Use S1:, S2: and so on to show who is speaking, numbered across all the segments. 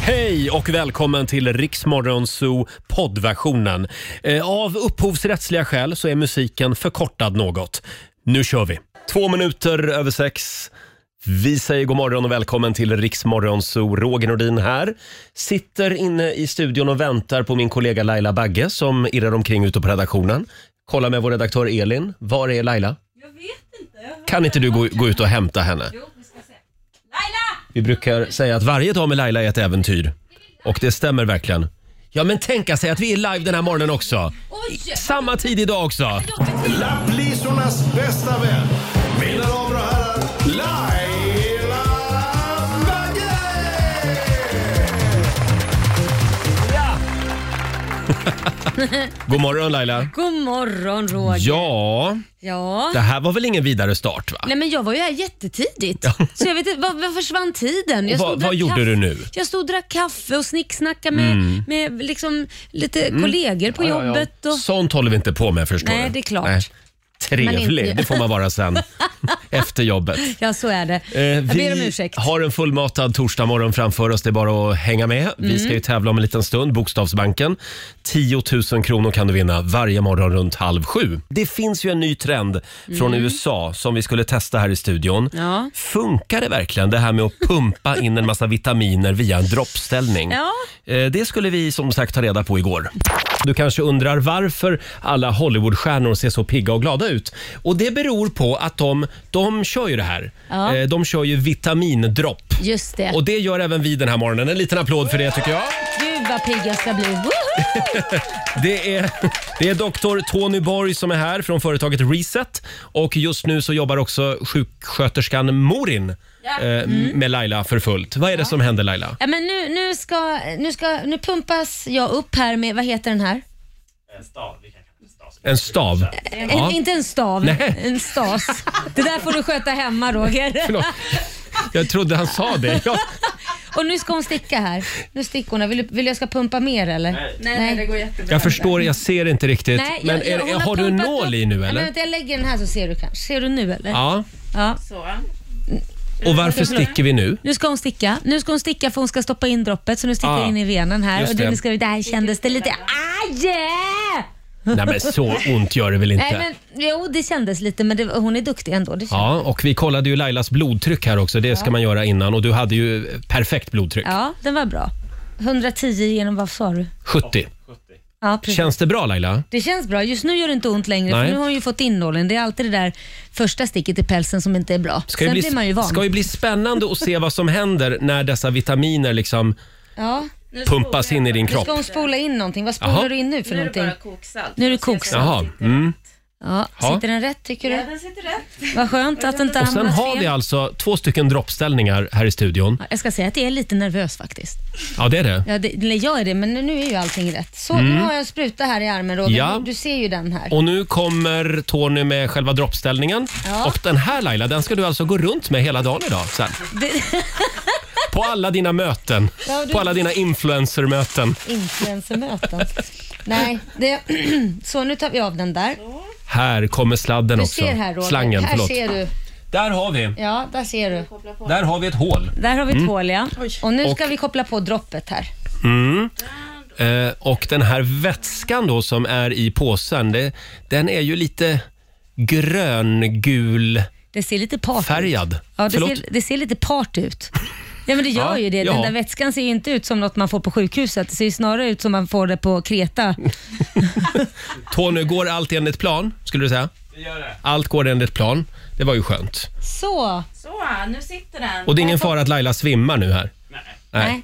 S1: Hej och välkommen till Riksmorgon Zoo poddversionen. Eh, Av upphovsrättsliga skäl så är musiken förkortad något. Nu kör vi! Två minuter över sex. Vi säger god morgon och välkommen till Riksmorgon Zoo. Roger Nordin här. Sitter inne i studion och väntar på min kollega Laila Bagge som irrar omkring ute på redaktionen. Kolla med vår redaktör Elin. Var är Laila? Kan inte du gå, gå ut och hämta henne? Vi brukar säga att varje dag med Laila är ett äventyr. Och det stämmer verkligen. Ja, men tänka sig att vi är live den här morgonen också. I- Samma tid idag också.
S2: Lapplisornas bästa vän. Mina damer och herrar, Laila Bagge!
S1: God morgon Laila.
S3: God morgon Roger.
S1: Ja,
S3: Ja.
S1: det här var väl ingen vidare start va?
S3: Nej men jag var ju här jättetidigt. Så jag vet inte, var, var försvann tiden? Jag
S1: Och vad-
S3: och drack
S1: vad gjorde
S3: kaffe.
S1: du nu? Mm.
S3: Jag stod och drack kaffe och snicksnackade med, med liksom lite kollegor på jobbet. Och,
S1: Sånt håller vi inte på med förstår
S3: Nej,
S1: du.
S3: det är klart. Men
S1: Trevlig,
S3: inte-
S1: det får man vara sen. Efter jobbet.
S3: Ja, så är det.
S1: Eh,
S3: jag
S1: vi
S3: ber om ursäkt.
S1: har en fullmatad torsdagmorgon framför oss. Det är bara att hänga med. Vi ska ju
S3: Mm.
S1: tävla om en liten stund, Bokstavsbanken. 10 000 kronor kan du vinna varje morgon runt halv sju. Det finns ju en ny trend från USA som vi skulle testa här i studion.
S3: Mm. Ja.
S1: Funkar det verkligen det här med att pumpa in en massa vitaminer via en droppställning?
S3: Ja.
S1: Eh, Det skulle vi som sagt ta reda på igår. Du kanske undrar varför alla Hollywoodstjärnor ser så pigga och glada ut. Och det beror på att de, de kör ju det här.
S3: Ja.
S1: Eh, De kör ju vitamindropp.
S3: Just det.
S1: Och det gör även vi den här morgonen. En liten applåd för det tycker jag.
S3: Gud vad pigg jag ska bli. Woho!
S1: Det är, det är doktor Tony Borg som är här från företaget Reset. Och just nu så jobbar också sjuksköterskan Morin eh, med Laila för fullt. Vad är det som händer Laila?
S3: Mm. Ja, men nu, nu, ska, nu, ska, nu pumpas jag upp här med, vad heter den här?
S1: En stav?
S3: En, Eh, inte en stav,
S1: Nej.
S3: en stas. Det där får du sköta hemma Roger.
S1: Förlåt. Jag trodde han sa det. Jag,
S3: Och nu ska hon sticka här. Nu stickar hon. här. Vill du vill jag ska pumpa mer eller? Nej, nej, det går jättebra.
S1: jag förstår, jag ser inte riktigt. men är, har, du en nål i nu
S3: Nej,
S1: eller?
S3: vänta, jag lägger den här så ser du kanske. Ser du nu eller?
S1: Ja.
S3: Ja.
S1: Och varför sticker vi nu?
S3: Nu ska hon sticka. Nu ska hon sticka för hon ska stoppa in droppet så nu sticker
S1: Ah.
S3: jag in i venen här.
S1: Just
S3: Och det.
S1: det.
S3: Nu ska vi, där kändes det lite... Aj!
S1: Nej men så ont gör det väl
S3: Nej,
S1: inte?
S3: men, jo, det kändes lite men det, hon är duktig ändå. Det känns-
S1: Ja, och vi kollade ju Lailas blodtryck här också. Det ska man göra innan. Och du hade ju perfekt blodtryck.
S3: ja, den var bra. 110 genom, vad sa du?
S1: 70.
S3: Ja, precis.
S1: Känns det bra Laila?
S3: Det känns bra. Just nu gör det inte ont längre
S1: Nej.
S3: för nu har hon ju fått in nålen. Det är alltid det där första sticket i pälsen som inte är bra.
S1: Ska det
S3: Sen
S1: bli,
S3: blir man ju van.
S1: Ska ju bli spännande att se vad som händer när dessa vitaminer liksom
S3: Ja.
S1: pumpas in i din
S3: Nu
S1: kropp.
S3: ska hon spola in någonting. Vad spolar
S1: Jaha.
S3: du in nu för
S4: Nu är det
S3: någonting?
S4: bara koksalt.
S3: Nu är det koksalt.
S1: Jaha. Mm.
S3: Ja.
S1: Ja.
S3: Sitter den rätt tycker
S4: Ja,
S3: du?
S4: den sitter rätt.
S3: Vad skönt att den inte
S1: Och sen
S3: hamnat
S1: har
S3: fel.
S1: vi alltså två stycken droppställningar här i studion.
S3: Ja, Jag ska säga att jag är lite nervös faktiskt.
S1: Ja, det är det.
S3: Ja, det, eller jag är det, men nu är ju allting rätt. Så, nu har jag en spruta här i armen Roger.
S1: Mm. Ja.
S3: Du ser ju den här.
S1: Och nu kommer Tony med själva droppställningen.
S3: Ja.
S1: Och den här Laila, den ska du alltså gå runt med hela dagen idag sen.
S3: Det-
S1: På alla dina möten.
S3: Ja, du-
S1: På alla dina influencermöten.
S3: Influencermöten. Nej, det, så nu tar vi av den där.
S1: Här kommer sladden
S3: Du
S1: också.
S3: ser här Roger.
S1: Slangen,
S3: här
S1: förlåt.
S3: ser du.
S1: Där har vi.
S3: Ja, där ser du.
S1: Där har vi ett hål.
S3: Där har vi ett hål ja. Och nu ska
S1: Mm. Och-
S3: vi koppla på droppet här.
S1: Eh, och den här vätskan då som är i påsen, det, den är ju lite gröngul
S3: Det ser lite party
S1: färgad.
S3: Ja, det,
S1: Förlåt?
S3: ser, det ser lite part ut. Ja men det gör
S1: Ja,
S3: ju det. Den
S1: jaha.
S3: där vätskan ser ju inte ut som något man får på sjukhuset. Det ser ju snarare ut som man får det på Kreta.
S1: Tony, går allt enligt plan skulle du säga? Allt går enligt plan. Det var ju skönt.
S3: Så!
S4: Så, nu sitter den.
S1: Och det är ingen fara att Laila svimmar nu här? Nej.
S3: Nej.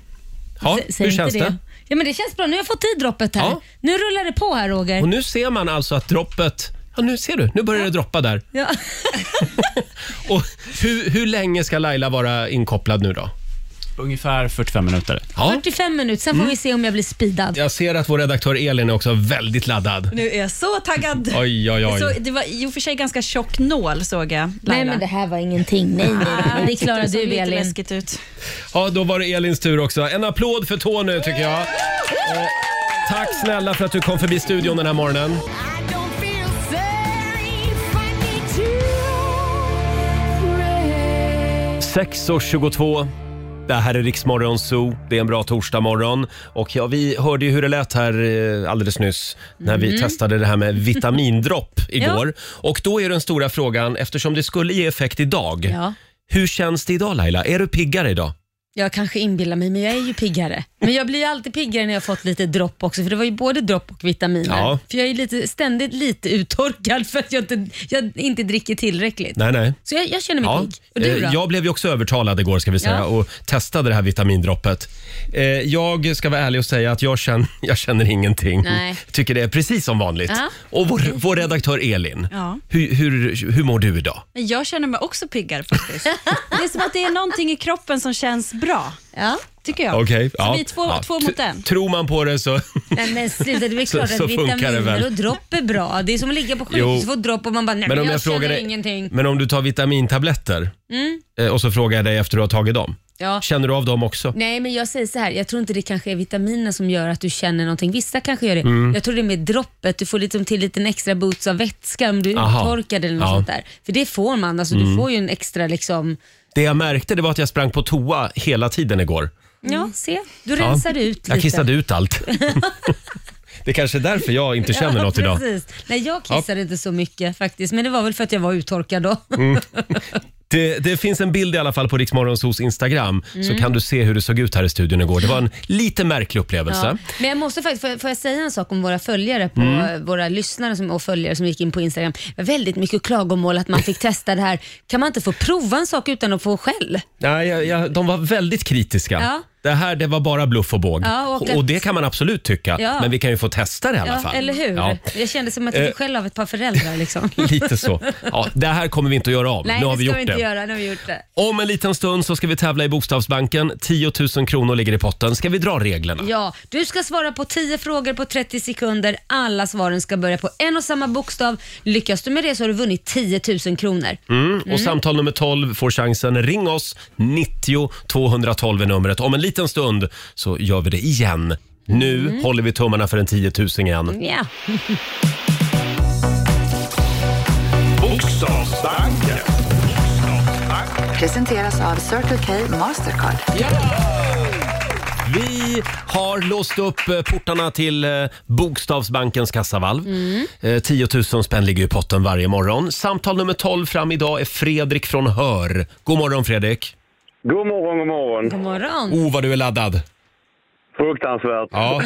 S1: Ja,
S3: S- säg
S1: hur
S3: inte
S1: känns det?
S3: Ja men det känns bra. Nu har jag fått i droppet här.
S1: Ja.
S3: Nu rullar det på här Roger.
S1: Och nu ser man alltså att droppet... Ja, nu ser du. Nu börjar det droppa där.
S3: Ja.
S1: Och hur, hur länge ska Laila vara inkopplad nu då?
S5: Ungefär 45 minuter.
S1: Ja,
S3: 45 minuter, sen får
S1: Mm.
S3: vi se om jag blir speedad.
S1: jag ser att vår redaktör Elin är också väldigt laddad.
S4: Nu är jag så taggad.
S1: Oj, oj, oj.
S4: Så, det var i och för sig ganska tjock nål såg jag.
S3: Nej men det här var ingenting. Nej, nej, nej. Det klarar du Elin.
S4: läskigt ut.
S1: Ja, då var det Elins tur också. En applåd för Tony tycker jag. Eh, Tack snälla för att du kom förbi studion den här morgonen.
S6: Hej!
S1: 6.22. Det här är Riksmorgon Zoo. Det är en bra torsdagmorgon. Och ja, vi hörde ju hur det lät här eh, alldeles nyss när vi
S3: Mm.
S1: testade det här med vitamindropp igår.
S3: Ja.
S1: Och då är den stora frågan, eftersom det skulle ge effekt idag.
S3: Ja.
S1: Hur känns det idag Laila? Är du piggare idag?
S3: Jag kanske inbillar mig, men jag är ju piggare. Men jag blir ju alltid piggare när jag fått lite dropp också, för det var ju både dropp och vitaminer.
S1: Ja.
S3: För jag är lite, ständigt lite uttorkad för att jag inte, jag inte dricker tillräckligt.
S1: Nej, nej.
S3: Så jag, jag känner mig
S1: Ja.
S3: pigg. Och du då?
S1: Eh, Jag blev ju också övertalad igår ska vi säga
S3: Ja.
S1: och testade det här vitamindroppet. Eh, Jag ska vara ärlig och säga att jag känner, jag känner ingenting.
S4: Nej.
S1: Tycker det är precis som vanligt.
S4: Ja.
S1: Och vår, vår redaktör Elin,
S4: Ja.
S1: hur, hur, hur mår du idag?
S4: Men jag känner mig också piggare faktiskt. det är som att det är någonting i kroppen som känns bra.
S3: Ja.
S4: Tycker jag.
S1: Okej,
S4: så vi är två,
S1: Ja.
S4: två mot
S1: T-
S4: en.
S1: Tror man på det så...
S3: Nej men sluta, det är väl
S1: Så-
S3: klart
S1: så
S3: att
S1: funkar det väl.
S3: vitaminer och dropp är bra. Det är som att ligga på sjukhus och
S1: Jo.
S3: få dropp och man bara, nej men jag, känner ingenting.
S1: men om du tar vitamintabletter
S3: Mm.
S1: eh, och så frågar jag dig efter du har tagit dem.
S3: Ja.
S1: Känner du av dem också?
S3: Nej, men jag säger så här. Jag tror inte det kanske är vitaminer som gör att du känner någonting. Vissa kanske gör det.
S1: Mm.
S3: Jag tror det är med droppet. Du får liksom till lite en extra boots av vätska om du
S1: Aha.
S3: är torkad eller något
S1: Ja.
S3: sånt där. För det får man. Alltså,
S1: Mm.
S3: Du får ju en extra liksom...
S1: Det jag märkte det var att jag sprang på toa hela tiden igår.
S3: Ja, mm, se. Du
S1: Ja.
S3: rensar ut lite.
S1: Jag kissade ut allt. det kanske är därför jag inte känner
S3: Ja,
S1: något idag.
S3: Precis. Nej, jag kissade inte så mycket faktiskt. Men det var väl för att jag var uttorkad då.
S1: Mm. Det, det finns en bild i alla fall på Riksmorgonsos Instagram så
S3: Mm.
S1: kan du se hur det såg ut här i studion igår. Det var en lite märklig upplevelse.
S3: Ja. Men jag måste faktiskt, får, får jag säga en sak om våra följare, på,
S1: Mm.
S3: våra lyssnare som, och följare som gick in på Instagram. Det var väldigt mycket klagomål att man fick testa det här. Kan man inte få prova en sak utan att få skäll?
S1: Nej, jag, jag, de var väldigt kritiska.
S3: Ja.
S1: Det här det var bara bluff och båg.
S3: Ja, och
S1: och,
S3: att-
S1: det kan man absolut tycka,
S3: Ja.
S1: men vi kan ju få testa det i alla
S3: ja,
S1: fall.
S3: Eller hur?
S1: Ja,
S3: Jag kände som att jag fick
S1: Eh.
S3: skäll av ett par föräldrar. Liksom.
S1: lite så. Ja, det här kommer vi inte att göra av.
S3: Nej,
S1: nu har
S3: det
S1: vi
S3: ska
S1: gjort
S3: vi inte
S1: det.
S3: göra. Nu har vi gjort det.
S1: Om en liten stund så ska vi tävla i Bokstavsbanken. 10 000 kronor ligger i potten. Ska vi dra reglerna?
S3: Ja, du ska svara på 10 frågor på 30 sekunder. Alla svaren ska börja på en och samma bokstav. Lyckas du med det så har du vunnit 10 000 kronor.
S1: Mm.
S3: Mm.
S1: Och samtal nummer 12 får chansen. Ring oss. 90 212 är numret. Om en liten stund så gör vi det igen. Nu
S3: Mm.
S1: håller vi tummarna för en 10 000 igen.
S3: Ja.
S2: Bokstavsbanken.
S6: Presenteras av Circle K Mastercard.
S1: Vi har låst upp eh, portarna till eh, Bokstavsbankens kassavalv.
S2: Mm.
S1: Eh, 10 000 spänn ligger i potten varje morgon. Samtal nummer 12 fram idag är Fredrik från Hör. God morgon Fredrik!
S7: God morgon, god morgon.
S3: God morgon.
S1: Oh, vad du är laddad!
S7: Fruktansvärt.
S1: Ja.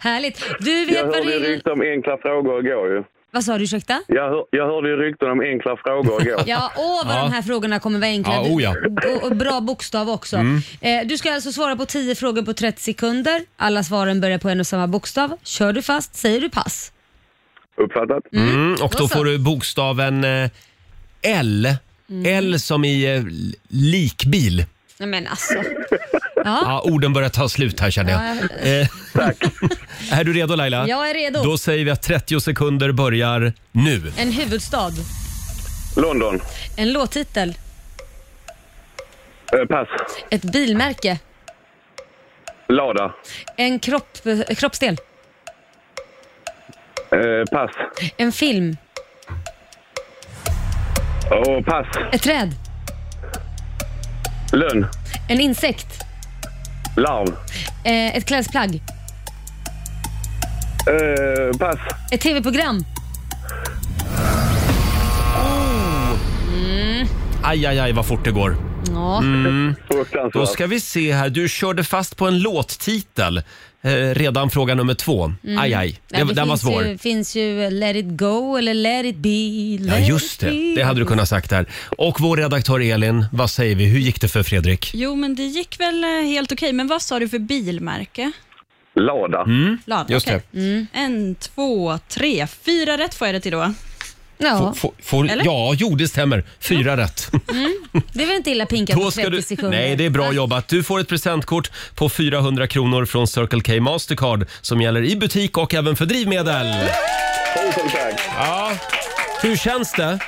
S3: Härligt. Du vet
S7: jag
S3: vad
S7: hörde ju
S3: reglerna...
S7: rykten om enkla frågor igår ju.
S3: Vad sa du, ursäkta?
S7: Jag, hör, jag hörde ju rykten om enkla frågor igår.
S3: Ja, åh vad de här frågorna kommer vara enkla.
S7: Ja, oh ja.
S3: Och, och bra bokstav också.
S7: Mm.
S3: Eh, du ska alltså svara på 10 frågor på 30 sekunder. Alla svaren börjar på en och samma bokstav. Kör du fast säger du pass.
S7: Uppfattat?
S1: Mm, och då
S3: Då så.
S1: får du bokstaven eh, L. L som i eh, likbil.
S3: Nej men alltså.
S1: Ja, orden börjar ta slut här känner jag.
S3: Ja,
S1: Eh, är du redo Laila?
S3: Jag är redo.
S1: Då säger vi att 30 sekunder börjar nu.
S3: En huvudstad.
S7: London.
S3: En låttitel.
S7: Eh, pass.
S3: Ett bilmärke.
S7: Lada.
S3: En kropp, kroppsdel.
S7: Eh, pass.
S3: En film.
S7: Och pass.
S3: Ett träd.
S7: Lönn.
S3: En insekt.
S7: Larv.
S3: Eh, ett klädesplagg.
S7: Eh, pass.
S3: Ett tv-program. Mm.
S1: Aj, aj, aj vad fort det går.
S3: Ja.
S1: Mm.
S7: Fruktansvärt.
S1: Då ska vi se här. Du körde fast på en låttitel eh, redan fråga nummer två.
S3: Mm.
S1: Aj, aj.
S3: Nej,
S1: Det, den var
S3: finns
S1: svår.
S3: Ju, finns ju Let it go eller Let it be.
S1: Ja,
S3: let
S1: just
S3: it
S1: det.
S3: be.
S1: Det hade du kunnat sagt där. Och vår redaktör Elin, vad säger vi? Hur gick det för Fredrik?
S4: Jo, men det gick väl eh, helt okej. Men vad sa du för bilmärke?
S7: Lada.
S1: Mm.
S4: Lada,
S1: Just Mm.
S4: okej. En, två, tre, fyra rätt får jag det till då.
S1: det.
S3: Ja.
S1: Får- får-
S4: Eller?
S1: ja, jo det stämmer. Fyra rätt.
S3: Mm. Det är väl inte illa pinkat på
S1: Då ska
S3: 30
S1: du...
S3: sekunder?
S1: Nej, det är bra jobbat. Du får ett presentkort på 400 kronor från Circle K Mastercard som gäller i butik och även för drivmedel.
S7: Tusen tack.
S1: Ja. Hur känns det?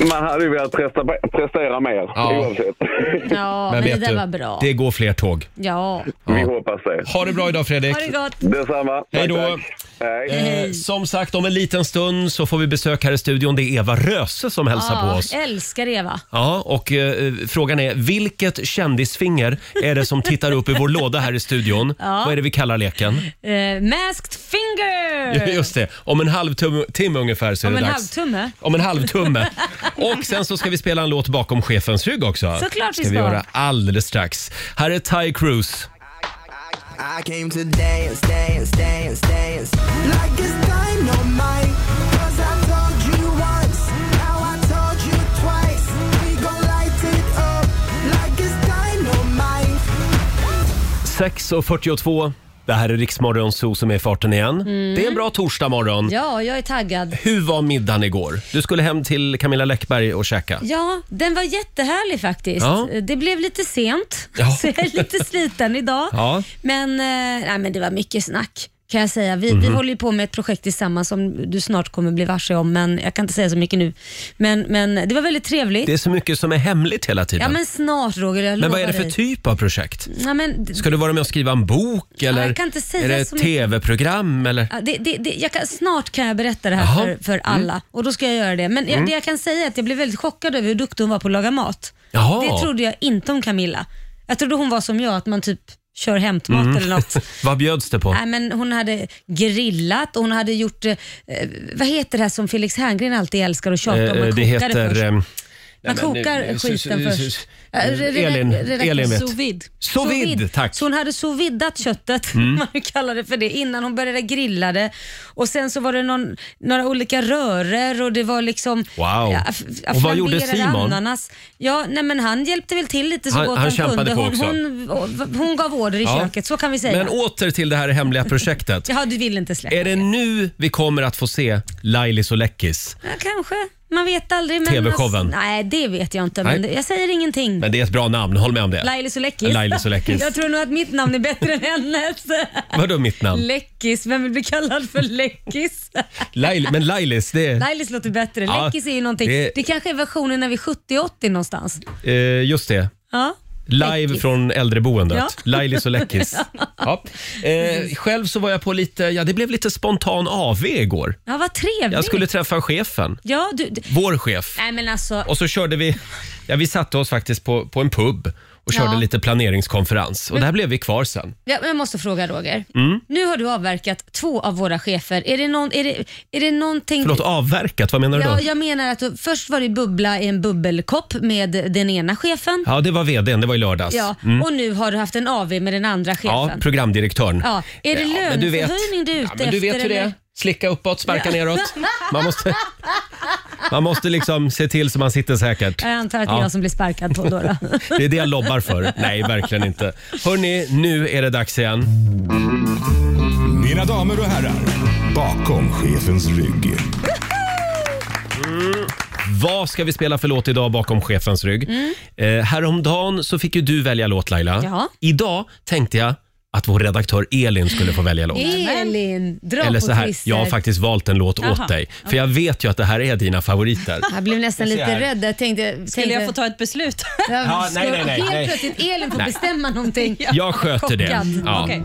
S7: Man hade ju velat presta, prestera mer
S1: Ja.
S7: oavsett.
S3: Ja, men, det där var bra.
S1: det går fler tåg.
S3: Ja.
S7: Vi hoppas det.
S1: Ha det bra idag Fredrik.
S3: Ha det gott.
S7: Detsamma. Tack,
S1: Hej då.
S7: tack. Hej.
S1: Eh, Som sagt, om en liten stund så får vi besök här i studion. Det är Eva Röse som hälsar på
S3: Ja,
S1: oss.
S3: älskar Eva.
S1: Ja, och eh, frågan är vilket kändisfinger är det som tittar upp i vår låda här i studion? Vad är det vi kallar leken?
S3: Eh, masked finger!
S1: Just det, om en halvtimme timme ungefär så är
S3: Eh. Om
S1: det
S3: en
S1: dags.
S3: halvtumme.
S1: Om en halvtumme. Och sen så ska vi spela en låt bakom chefens rygg också.
S3: Såklart vi
S1: ska
S3: ska.
S1: vi göra alldeles strax. Här är Ty Cruz.
S8: I came to dance, dance, dance, dance. Like it's dynamite. Cause I told you once, now I told you twice. We gon' light it up like it's dynamite.
S1: 6.42. Det här är Riksmorgon Zoo som är i farten igen. Det är en bra torsdagmorgon.
S3: Mm. Ja, jag är taggad.
S1: Hur var middagen igår? Du skulle hem till Camilla Läckberg och käka.
S3: Ja, den var jättehärlig faktiskt.
S1: Ja.
S3: Eh, Det blev lite sent,
S1: Ja.
S3: så jag är lite sliten idag.
S1: Ja.
S3: Men, eh, nej, men det var mycket snack. Kan jag säga. Vi,
S1: Mhm.
S3: vi håller ju på med ett projekt tillsammans som du snart kommer bli varse om, men jag kan inte säga så mycket nu. Men, men det var väldigt trevligt.
S1: Det är så mycket som är hemligt hela tiden.
S3: Ja men snart Roger, jag
S1: men vad
S3: lovar
S1: är det för
S3: dig.
S1: typ av projekt?
S3: Ja, men, d-
S1: Ska du vara med och skriva en bok eller
S3: jag kan inte säga
S1: är det
S3: så
S1: ett
S3: mycket.
S1: tv-program? Eller?
S3: ja, det, det, det, jag kan, snart kan jag berätta det
S1: Jaha. Mm.
S3: här för, för alla och då ska jag göra det. Men jag, det jag kan säga är att jag blev väldigt chockad över hur duktig hon var på att laga mat.
S1: Jaha.
S3: Det trodde jag inte om Camilla. Jag trodde hon var som jag, att man typ kör hämtmat
S1: Mm.
S3: eller något.
S1: Vad bjöds det på?
S3: Nej, men hon hade grillat och hon hade gjort, eh, eh, vad heter det här som Felix Herngren alltid älskar att tjata om?
S1: Eh,
S3: Man kokar
S1: det
S3: det
S1: heter...
S3: först.
S1: ehm,
S3: Man
S1: nej, men,
S3: kokar
S1: eh,
S3: skiten
S1: s- s-
S3: först.
S1: s-
S3: Ja, re- re-
S1: Elin,
S3: redaktör-
S1: Elin vet.
S4: Sous vide.
S1: Sous vide, tack. Mm.
S3: Så hon hade sous vidat köttet, om man nu kallar det för det, innan hon började grilla det. Och sen så var det någon, några olika rörer och det var liksom...
S1: Wow.
S3: f-
S1: Och vad gjorde
S3: flamberade
S1: Simon?
S3: Ananas. Ja, nej men han hjälpte väl till lite så
S1: Han-
S3: gott
S1: han
S3: han,
S1: kämpade
S3: kunde.
S1: på
S3: Hon,
S1: också.
S3: hon, hon, gav order i
S1: Ja.
S3: köket, så kan vi säga.
S1: Men åter till det här hemliga projektet.
S3: ja, du vill inte släppa.
S1: Är det nu vi kommer att få se Lailis och Läckis?
S3: Ja, kanske. Man vet aldrig. Men
S1: TV-showen.
S3: Alltså, nej, det vet jag inte. Men
S1: Nej.
S3: det, jag säger ingenting.
S1: Men det är ett bra namn, håll med om det.
S3: Lailis och Läckis.
S1: Lailis och Läckis.
S3: Jag tror nog att mitt namn är bättre än hennes.
S1: Vadå mitt namn?
S3: Läckis, vem vill bli kallad för läckis?
S1: Lail- men Lailis, det är...
S3: Lailis låter bättre.
S1: Ja,
S3: läckis är ju någonting.
S1: det-
S3: Det, kanske är versionen när vi är 70-80 någonstans.
S1: Eh, just det.
S3: Ja.
S1: Live
S3: Läckis.
S1: från äldreboendet.
S3: Ja.
S1: Lailis och Läckis. Ja. Eh, själv så var jag på lite, ja det blev lite spontan AV igår.
S3: Ja, vad trevligt.
S1: Jag skulle träffa chefen,
S3: Ja, du... du...
S1: vår chef.
S3: Nej men alltså,
S1: Och så körde vi, ja vi satte oss faktiskt på, på en pub och körde
S3: Ja.
S1: lite planeringskonferens. Och där blev vi kvar sen.
S3: jag jag måste fråga Roger.
S1: Mm.
S3: Nu har du avverkat två av våra chefer. Är det, någon, är det, är det någonting...
S1: Förlåt, avverkat, vad menar du
S3: Ja,
S1: då?
S3: jag menar att du, först var det bubbla i en bubbelkopp med den ena chefen.
S1: Ja, det var vdn, det var i lördags.
S3: Ja, och nu har du haft en AV med den andra chefen.
S1: Ja, programdirektören.
S3: Ja, är det
S1: men du vet-
S3: löneförhöjning du är
S1: ja,
S3: ute
S1: men Du vet
S3: efter,
S1: hur det är.
S3: eller?
S1: Slicka uppåt, sparka neråt. Man måste, man måste liksom se till så man sitter säkert.
S3: Jag antar att det är
S1: Ja.
S3: jag som blir sparkad på då. då.
S1: Det är det jag lobbar för. Nej, verkligen inte. Hörni, nu är det dags igen.
S2: Mina damer och herrar, bakom chefens rygg.
S1: Vad ska vi spela för låt idag bakom chefens rygg? Eh, häromdagen så fick ju du välja låt Laila.
S3: Ja.
S1: Idag tänkte jag att vår redaktör Elin skulle få välja låt.
S3: Elin, dra
S1: Eller
S3: på
S1: så här,
S3: Christer.
S1: jag har faktiskt valt en låt
S4: Jaha.
S1: åt dig. För jag vet ju att det här är dina favoriter.
S3: Jag blev nästan
S1: Jag ser här.
S3: lite rädd. Jag tänkte,
S4: Skulle jag få
S3: tänkte,
S4: ta ett beslut?
S1: Ja, nej, nej, nej,
S3: Helt
S1: nej.
S3: plötsligt Elin får
S1: Nej.
S3: bestämma någonting.
S1: Jag sköter det.
S3: Chockad.
S1: Ja.
S4: Okej.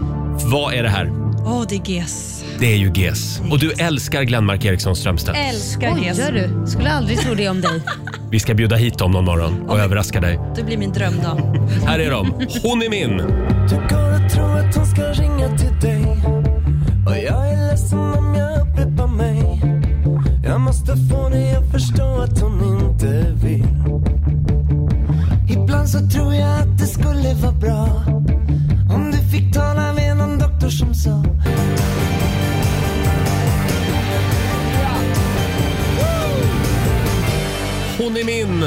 S1: Vad är det här?
S4: Åh, det är GES.
S1: Det är ju GES. Och du älskar Glenmark Eriksson Strömstedt.
S3: Älskar
S4: Oj,
S3: Gör du? Skulle aldrig tro det om dig.
S1: Vi ska bjuda hit dem någon morgon och överraska dig.
S4: Det blir min drömdag.
S1: Här är de. Hon är min!
S8: Du går och tror att hon ska ringa till dig Och jag är ledsen om jag upprepar mig Jag måste få dig att förstå att hon inte vill Ibland så tror jag att det skulle vara bra Om du fick tala med någon doktor som sa
S1: Hon är min!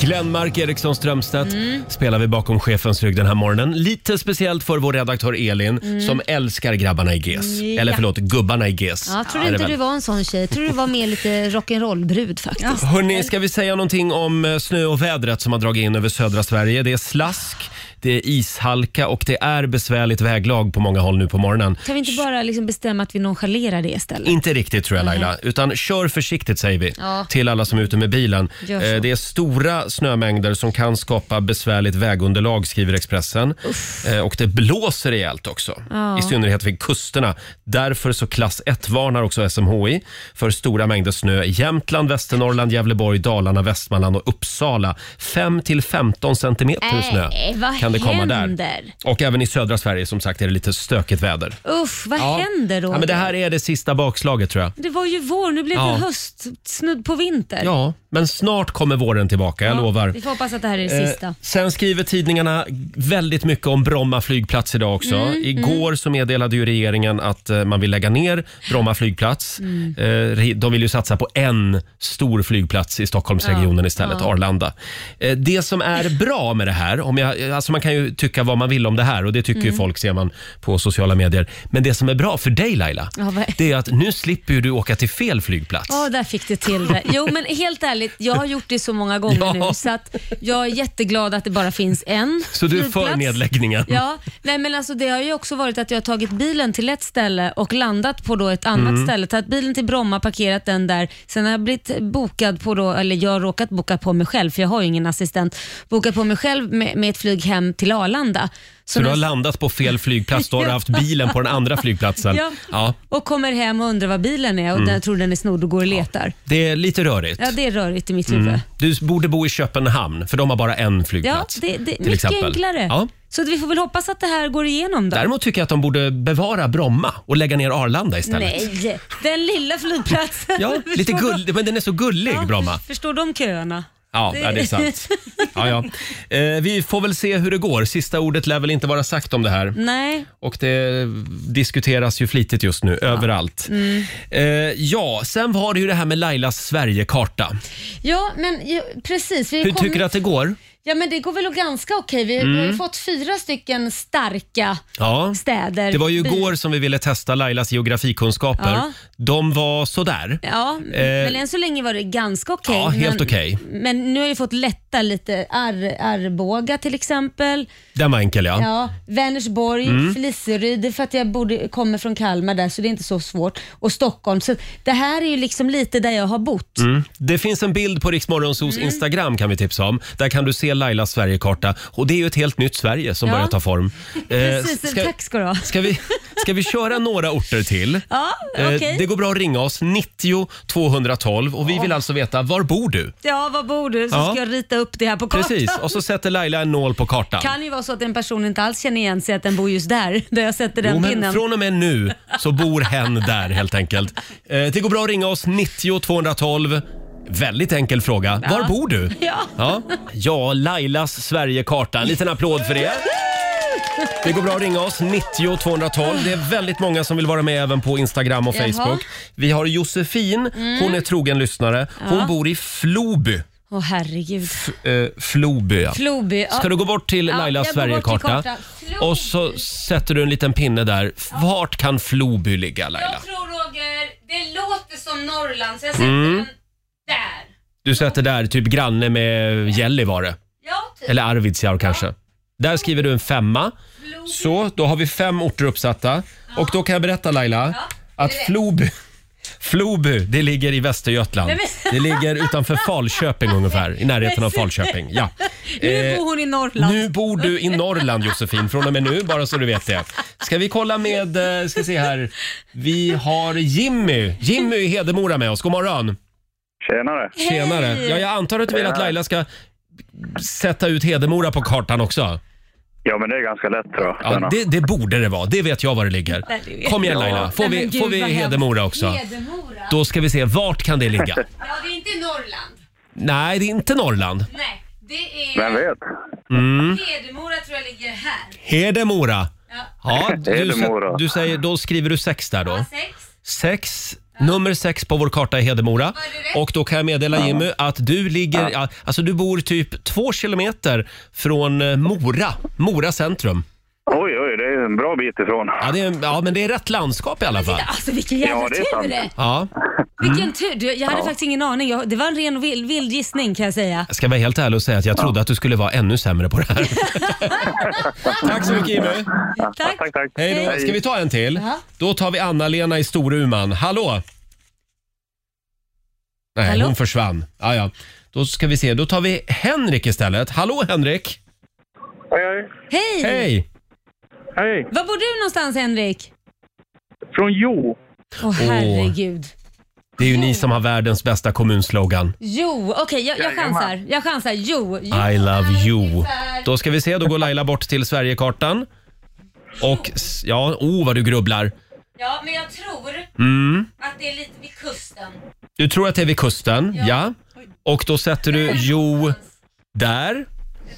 S1: Glenmark Eriksson Strömstedt
S3: Mm.
S1: spelar vi bakom chefens rygg den här morgonen. Lite speciellt för vår redaktör Elin
S3: Mm.
S1: som älskar grabbarna i GES. Eller förlåt, gubbarna i GES.
S3: Ja, tror
S1: är det
S3: inte
S1: väl.
S3: du var en sån tjej. Tror du var mer lite rock'n'roll-brud faktiskt.
S1: Hörni, ska vi säga någonting om eh, snö och vädret som har dragit in över södra Sverige? Det är slask, det är ishalka och det är besvärligt väglag på många håll nu på morgonen.
S3: Kan vi inte bara liksom bestämma att vi nonchalerar det istället?
S1: Inte riktigt tror jag Laila, utan kör försiktigt säger vi
S3: Ja.
S1: till alla som är ute med bilen.
S3: Gör så.
S1: Eh, Det är stora snömängder som kan skapa besvärligt vägunderlag skriver Expressen. Eh, Och det blåser rejält också,
S3: Ja.
S1: i synnerhet vid kusterna. Därför så klass 1 varnar också SMHI för stora mängder snö i Jämtland, Västernorrland, Gävleborg, Dalarna, Västmanland och Uppsala. 5 till 15 centimeter snö
S3: Nej, vad
S1: kan det komma där.
S3: händer?
S1: Och även i södra Sverige som sagt är det lite stökigt väder.
S3: Usch, vad
S1: Ja.
S3: händer då?
S1: Ja, men det här är det sista bakslaget tror jag.
S3: Det var ju vår, nu blev
S1: Ja.
S3: det höst, snudd på vinter.
S1: Ja, men snart kommer våren tillbaka, jag
S3: Ja,
S1: lovar.
S3: Vi får hoppas att det här är det sista.
S1: Eh, sen skriver tidningarna väldigt mycket om Bromma flygplats idag också.
S3: Mm,
S1: Igår så meddelade ju regeringen att eh, man vill lägga ner Bromma flygplats.
S3: Mm.
S1: Eh, re- de vill ju satsa på en stor flygplats i Stockholmsregionen istället, Arlanda. Eh, det som är bra med det här, om jag, alltså man kan ju tycka vad man vill om det här och det tycker
S3: Mm.
S1: ju folk ser man på sociala medier. Men det som är bra för dig Laila,
S3: Ja, vad-
S1: det är att nu slipper ju du åka till fel flygplats.
S3: Ja, där fick du till det. Jo, men helt ärligt, jag har gjort det så många gånger
S1: Ja.
S3: nu så att jag är jätteglad att det bara finns en
S1: Så du är för
S3: flygplats.
S1: nedläggningen?
S3: Ja, nej men alltså det har ju också varit att jag har tagit bilen till ett ställe och landat på då ett annat
S1: Mm.
S3: ställe. Tagit bilen till Bromma, parkerat den där. Sen har jag blivit bokad på då, eller jag har råkat boka på mig själv för jag har ju ingen assistent. Bokat på mig själv med, med ett flyg hem till Arlanda.
S1: Så du har
S3: när-
S1: landat på fel flygplats, då har du haft bilen på den andra flygplatsen.
S3: Ja.
S1: Ja, Mm.
S3: och kommer hem och undrar var bilen är och jag tror den är snodd och går och letar.
S1: det är lite rörigt.
S3: Ja, det är rörigt i mitt
S1: Mm.
S3: huvud.
S1: Du borde bo i Köpenhamn, för de har bara en
S3: Ja,
S1: flygplats.
S3: det, det, mycket
S1: exempel.
S3: enklare.
S1: Ja.
S3: Så vi får väl hoppas att det här går igenom då.
S1: Däremot tycker jag att de borde bevara Bromma och lägga ner Arlanda istället.
S3: Nej, den lilla flygplatsen.
S1: Ja, lite
S3: Förstår de-
S1: gull, men den är så gullig,
S3: Ja,
S1: Bromma.
S3: Förstår de köerna?
S1: Ja,
S3: Det-
S1: ja, det är sant. Ja, ja. Eh, vi får väl se hur det går. Sista ordet lär väl inte vara sagt om det här.
S3: Nej.
S1: Och det diskuteras ju flitigt just nu, överallt.
S3: Mm.
S1: Eh, ja, sen var det ju det här med Lailas Sverigekarta.
S3: Ja, men ju, precis. Vi
S1: Hur
S3: kom,
S1: tycker du att Mm. det går?
S3: Ja, men det går väl ganska okej. Vi, vi har ju fått fyra stycken starka
S1: Ja.
S3: städer.
S1: Det var ju
S3: By-
S1: igår som vi ville testa Lailas geografikunskaper.
S3: Ja.
S1: De var sådär.
S3: Ja, men än så länge var det ganska okej.
S1: Eh. ja, helt
S3: men-
S1: okej.
S3: Men nu har jag fått lätta lite. Ar, Arboga till exempel.
S1: Den var enkel ja. Mm.
S3: Ja, Vänersborg, Fliseryd, det är för att jag bodde, kommer från Kalmar där så det är inte så svårt. Och Stockholm. Så det här är ju liksom lite där jag har bott.
S1: Det finns en bild på Riksmorgonsos
S3: Mm.
S1: Instagram kan vi tipsa om. Där kan du se Lailas Sverigekarta. Och det är ju ett helt nytt Sverige som
S3: Ja.
S1: börjar ta form. Eh,
S3: Precis, tack ska du ha.
S1: Ska vi, ska vi köra några orter till?
S3: Ja,
S1: Eh,
S3: okej.
S1: Det går bra att ringa oss, 90 212. Och vi vill alltså veta, var bor du?
S3: Ja, var bor du? Så
S1: Ja.
S3: ska jag rita upp det här på kartan.
S1: Precis, och så sätter Laila en nål på kartan.
S3: kan ju vara så att en person inte alls känner igen sig att den bor just där, där jag sätter den
S1: Jo, men
S3: pinnen.
S1: från och med nu så bor hen där helt enkelt. Eh, det går bra att ringa oss, 90 212. Väldigt enkel fråga. Var bor du?
S3: Ja.
S1: Ja, ja Lailas Sverigekarta. En liten applåd för det. Det går bra att ringa oss, 90 212. Det är väldigt många som vill vara med även på Instagram och
S3: Jaha. Mm.
S1: Facebook. Vi har Josefin, hon är trogen lyssnare. Hon bor i Floby.
S3: Åh herregud.
S1: Eh, Floby, ja.
S3: Floby. Ja.
S1: Ska du gå bort till
S3: Ja,
S1: Lailas
S3: jag går bort till
S1: Sverigekarta
S3: kartan. Floby.
S1: och så sätter du en liten pinne där. Vart kan Floby ligga Laila?
S3: Jag tror Roger, det låter som Norrland så jag sätter
S1: Mm.
S3: den där.
S1: Du sätter där typ granne med Gällivare
S3: Ja, typ.
S1: eller Arvidsjaur kanske. Där skriver du en femma.
S3: Floby.
S1: Så, då har vi fem orter uppsatta och då kan jag berätta Laila att Floby Floby, det ligger i Västergötland. Det ligger utanför Falköping ungefär, i närheten av Falköping. Ja.
S3: Nu
S1: Eh,
S3: bor hon i Norrland.
S1: Nu bor du i Norrland Josefin, från och med nu, bara så du vet det. Ska vi kolla med, eh, ska se här, vi har Jimmy, Jimmy i Hedemora med oss. God morgon!
S7: Tjenare.
S1: Tjenare! Ja, jag antar att du vill att Laila ska sätta ut Hedemora på kartan också?
S7: Ja, men det är ganska lätt tror jag.
S1: Ja, det, det borde det vara, det vet jag var det ligger. Kom igen Laila, får
S3: Nej, men
S1: vi,
S3: gud,
S1: får vi
S3: vad hemskt.
S1: Hedemora också?
S3: Hedemora?
S1: Då ska vi se, vart kan det ligga?
S3: Ja, det är inte Norrland.
S1: Nej, det är inte Norrland.
S3: Nej, det är...
S7: Vem vet?
S3: Hedemora tror jag ligger här.
S1: Hedemora! Ja, du,
S7: Hedemora.
S1: du säger, då skriver du sex där då.
S3: Sex.
S1: Sex. Nummer sex på vår karta är Hedemora.
S3: det rätt?
S1: Och då kan jag meddela Jimmy att du ligger, ja. alltså du bor typ två kilometer från eh, Mora, Mora centrum.
S7: Oj, oj, det är är en bra bit ifrån.
S1: Ja, det är, ja, men det är rätt landskap i alla fall.
S3: Alltså vilken jävla
S7: Ja, det är sant.
S3: tur!
S1: Ja, Mm.
S3: Vilken tur! Du, jag hade faktiskt ingen aning. Jag, det var en ren och vild, vild gissning kan jag säga.
S1: jag ska vara helt ärlig och säga att jag trodde att du skulle vara ännu sämre på det här. Tack så mycket Jimmy.
S3: Tack!
S7: Tack, tack.
S1: Hej då. Ska vi ta en till? Då tar vi Anna-Lena i Storuman. Hallå? Nej,
S3: Hallå?
S1: hon försvann. Ja, ja. Då ska vi se. Då tar vi Henrik istället. Hallå Henrik?
S7: Hej, hej.
S3: Hej!
S1: Hej!
S7: Hej.
S3: Var bor du någonstans Henrik?
S7: Från Jo.
S3: Åh herregud.
S1: Det är ju ni som har världens bästa kommunslogan.
S3: Jo, okej jag, jag
S7: Jajamän.
S3: chansar. Jag chansar. Jo, jo.
S1: I love you. Då ska vi se. Då går Laila bort till Sverigekartan. Och s- ja, oh vad du grubblar.
S3: Ja, men jag tror
S1: Mm.
S3: att det är lite vid kusten.
S1: Du tror att det är vid kusten, ja. Och då sätter du Jo där.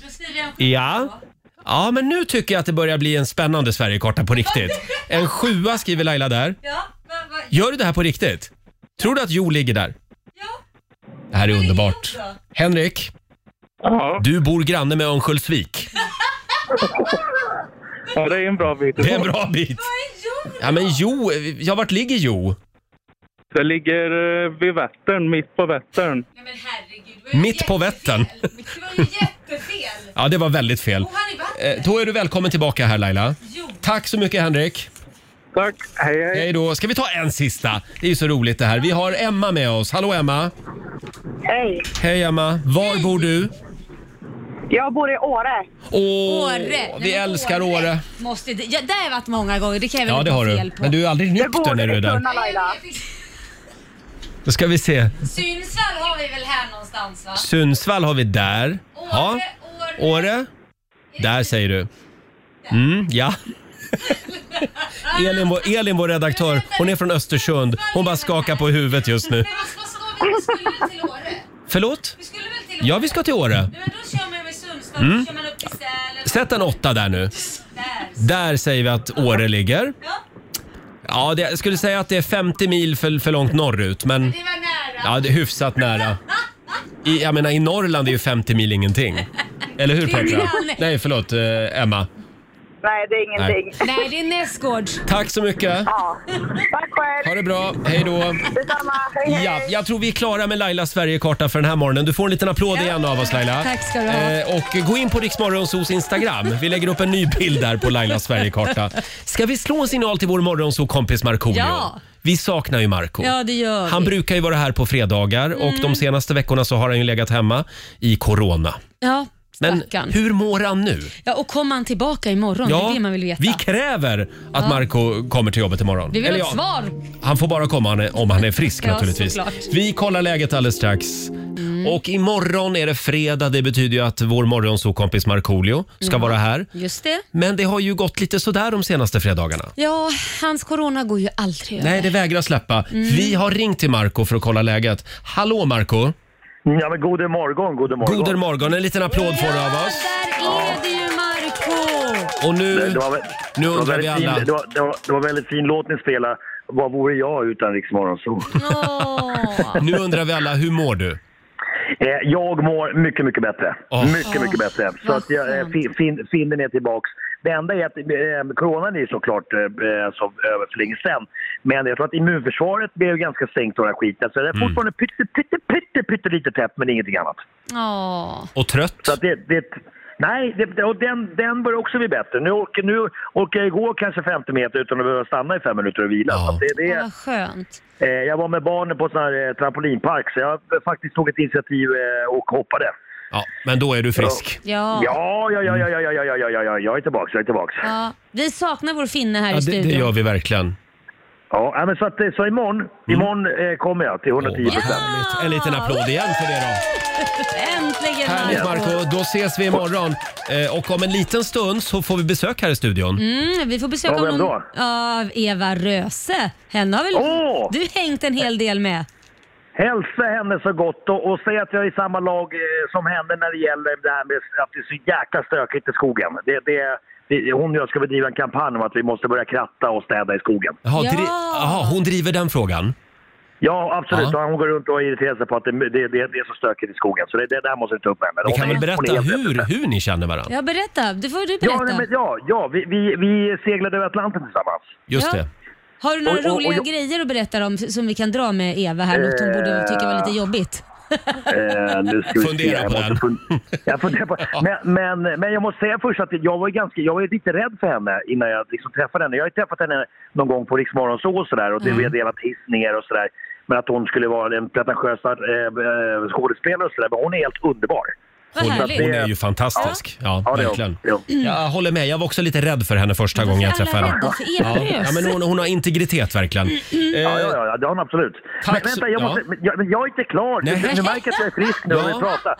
S3: Då skriver jag en
S1: Ja. Ja, men nu tycker jag att det börjar bli en spännande Sverigekarta på riktigt. En sjua skriver Laila där.
S3: Ja, va, va,
S1: Gör du det här på riktigt? Tror du att Jo ligger där?
S3: ja.
S1: Det här är underbart. Henrik,
S7: Ja,
S1: du bor granne med Örnsköldsvik.
S7: ja, det är en bra bit.
S1: Det är en bra bit. Ja, men Jo, ja, vart ligger Jo?
S7: Det ligger eh, vid Vättern, mitt på Vättern.
S3: Nej men herregud. det var ju
S1: Mitt på
S3: jättefel.
S1: Vättern.
S3: Det var ju jättefel.
S1: Ja, det var väldigt fel.
S3: Bor han i vattnet?
S1: Eh, Då är du välkommen tillbaka här Laila.
S3: Jo.
S1: Tack så mycket Henrik.
S7: Tack. Hej, hej.
S1: Hej då. Ska vi ta en sista? Det är ju så roligt det här. Vi har Emma med oss. Hallå Emma.
S9: Hej.
S1: Hej Emma. Var bor du?
S9: Jag bor i Åre.
S1: Åh,
S3: Åre. Nej, men
S1: Vi älskar Åre.
S3: Måste, ja, där har jag varit många gånger. Det kan jag väl
S1: Ja,
S3: inte
S1: det har
S3: ha
S1: du.
S3: fel på.
S1: Men du är aldrig
S9: Jag
S1: nykter
S9: bor
S1: när du är
S9: i
S1: där.
S9: Tunna Laila.
S1: Då ska vi se.
S3: Synsvall har vi väl här någonstans va?
S1: Sundsvall har vi där.
S3: Åre,
S1: Ja.
S3: Åre.
S1: Åre. Där säger du. Mm, ja. Elin vår, Elin, vår redaktör, hon är från Östersund. Hon bara skakar på huvudet just nu.
S3: Men vad ska, ska vi? Vi skulle väl till Åre?
S1: Förlåt?
S3: Vi skulle väl till Åre?
S1: Ja, vi ska till Åre.
S3: Nej, men då kör man över Sundsvall, då
S1: Mm.
S3: kör man upp till Sälen.
S1: Sätt en åtta där nu.
S3: Där.
S1: Där säger vi att Åre ligger.
S3: Ja,
S1: Ja, det, jag skulle säga att det är 50 mil för, för långt norrut, men
S3: det var nära.
S1: ja, det är hyfsat nära. I, jag menar, i Norrland är ju 50 mil ingenting. Eller hur Petra?
S3: granne.
S1: Nej, förlåt eh, Emma.
S9: Nej, det är ingenting.
S3: Nej, det är Näsgårds.
S1: Tack så mycket.
S9: Ja. Tack själv.
S1: Ha det bra. Hej då.
S9: Detsamma. Hej, hej.
S1: Ja, jag tror vi är klara med Lailas Sverigekarta för den här morgonen. Du får en liten applåd igen av oss Laila.
S3: Tack ska du ha.
S1: Eh, och gå in på Riksmorgonsos Instagram. Vi lägger upp en ny bild där på Lailas Sverigekarta. Ska vi slå en signal till vår morgonsokompis Markoolio?
S3: Ja.
S1: Vi saknar ju Marco.
S3: Ja, det gör
S1: Han
S3: vi. Mm.
S1: brukar ju vara här på fredagar och de senaste veckorna så har han ju legat hemma i corona.
S3: Ja,
S1: Men
S3: stackarn.
S1: hur mår han nu?
S3: Ja, och kommer han tillbaka imorgon? det är det man vill veta.
S1: vi kräver att Marco kommer till jobbet imorgon.
S3: Vi vill
S1: Eller
S3: ha ett
S1: ja,
S3: svar.
S1: Han får bara komma han är- om han är frisk
S3: Ja,
S1: naturligtvis.
S3: såklart. Mm.
S1: Vi kollar läget alldeles strax. Och imorgon är det fredag. Det betyder ju att vår morgonsokompis Markoolio ska
S3: Mm.
S1: vara här.
S3: Just det.
S1: Men det har ju gått lite sådär de senaste fredagarna.
S3: Ja, hans corona går ju aldrig över.
S1: Nej, det vägrar släppa.
S3: Mm.
S1: Vi har ringt till Marco för att kolla läget. Hallå Marco!
S7: Ja, men god morgon, god morgon.
S1: God morgon! En liten applåd får du av oss.
S3: Där är det ju Marco
S1: Och nu...
S10: Det var, väl-
S1: Nu
S10: det var
S1: undrar
S10: väldigt
S1: vi alla.
S10: Fin, det, var, det, var, det var väldigt fin låt ni spelade. Vad vore jag utan Rix Morgonzoo?
S3: Åh.
S1: Nu undrar vi alla, hur mår du?
S10: Eh, jag mår mycket, mycket bättre.
S1: Åh.
S10: Mycket, mycket bättre. Så
S3: vad
S10: att jag, eh,
S3: skönt.
S10: fin, fin, finnen är tillbaks. Det enda är att eh, coronan är ju såklart eh, som över för länge sedan. Men jag tror att immunförsvaret blev ganska sänkt av den här skiten. Så det är
S1: Mm.
S10: fortfarande pytte, pytte, pytte, pytte lite tätt, men ingenting annat.
S3: Åh.
S1: Och trött?
S10: Så att det, det, nej, det, och den, den börjar också bli bättre. Nu orkar, nu orkar jag gå kanske 50 meter utan att behöva stanna i fem minuter och vila.
S1: Ja.
S10: Så att det, det,
S3: Ja, vad skönt.
S10: Eh, Jag var med barnen på sån här eh, trampolinpark så jag eh, faktiskt tog ett initiativ eh, och hoppade.
S1: Ja, men då är du frisk.
S3: Ja.
S10: Ja, ja, ja, ja, ja, ja, ja, ja, ja, ja, jag är tillbaks, jag är tillbaks.
S3: Ja. Vi saknar vår finne här
S1: Ja,
S3: i
S1: det,
S3: studion.
S1: det gör vi verkligen.
S10: Ja, nej, men så, att, eh, så imorgon, imorgon eh, kommer jag till 110
S1: Åh, vad
S10: procent.
S3: Ah.
S1: härligt. En liten applåd igen för det då.
S3: Äntligen
S1: Härligt Marco, då ses vi imorgon. Eh, och om en liten stund så får vi besök här i studion.
S3: Mm, vi får besöka
S10: Ja, vem
S3: honom
S10: då?
S3: av Eva Röse. Henne har väl
S10: Åh!
S3: du hängt en hel del med?
S10: Hälsa henne så gott och, och säg att jag är i samma lag eh, som henne när det gäller det här med att det är så jäkla stökigt i skogen. Det, det, det, hon och jag ska bedriva en kampanj om att vi måste börja kratta och städa i skogen.
S1: Jaha,
S3: Ja.
S1: dri- Jaha, hon driver den frågan.
S10: Ja, absolut. Och Hon går runt och irriterar sig på att det, det, det, det är så stökigt i skogen. Så det, det där måste du ta upp med henne.
S1: Vi
S10: Hon
S1: kan väl
S10: är- hon är
S1: berätta
S10: helt rätt
S1: hur,
S10: ute.
S1: hur ni känner varandra?
S3: Ja, berätta. Det får du
S10: Ja,
S3: berätta.
S10: nej, men, ja, ja vi, vi, vi seglade över Atlanten tillsammans.
S1: Just
S3: Ja.
S1: det.
S3: Har du några
S10: Och- och- och
S3: roliga
S10: jag-
S3: grejer att berätta om som vi kan dra med Eva här? Något hon borde tycka var lite jobbigt?
S10: Eh, nu ska vi se.
S1: Fundera
S10: Jag
S1: på
S10: måste
S1: den.
S10: fun- Jag funderar på men, men, men jag måste säga först att jag var, ju ganska, jag var ju lite rädd för henne innan jag liksom träffade henne. Jag har ju träffat henne någon gång på Rix Morgon så och sådär och
S1: Mm.
S10: det, vi har delat hiss ner och sådär. Men att hon skulle vara en pretentiös eh, eh, skådespelare och sådär. Men hon är helt underbar.
S3: Vad
S1: Hon,
S3: härligt. Mm.
S1: hon är ju fantastisk. Ja,
S10: Ja, det är hon.
S1: verkligen.
S10: Ja.
S1: Jag håller med. Jag var också lite rädd för henne första gången jag
S3: Alla är
S1: träffade henne.
S3: rädda för Eva
S1: Ja,
S3: Rös.
S1: men hon, hon har integritet verkligen.
S3: Mm,
S10: Ja,
S1: Eh,
S10: ja, ja, det har hon absolut.
S1: Tack
S10: men
S1: så-
S10: vänta, jag,
S1: ja.
S10: måste, men jag, men jag är inte klar. Du,
S1: Nej.
S10: du märker att jag är frisk nu och
S1: Ja.
S10: vill prata.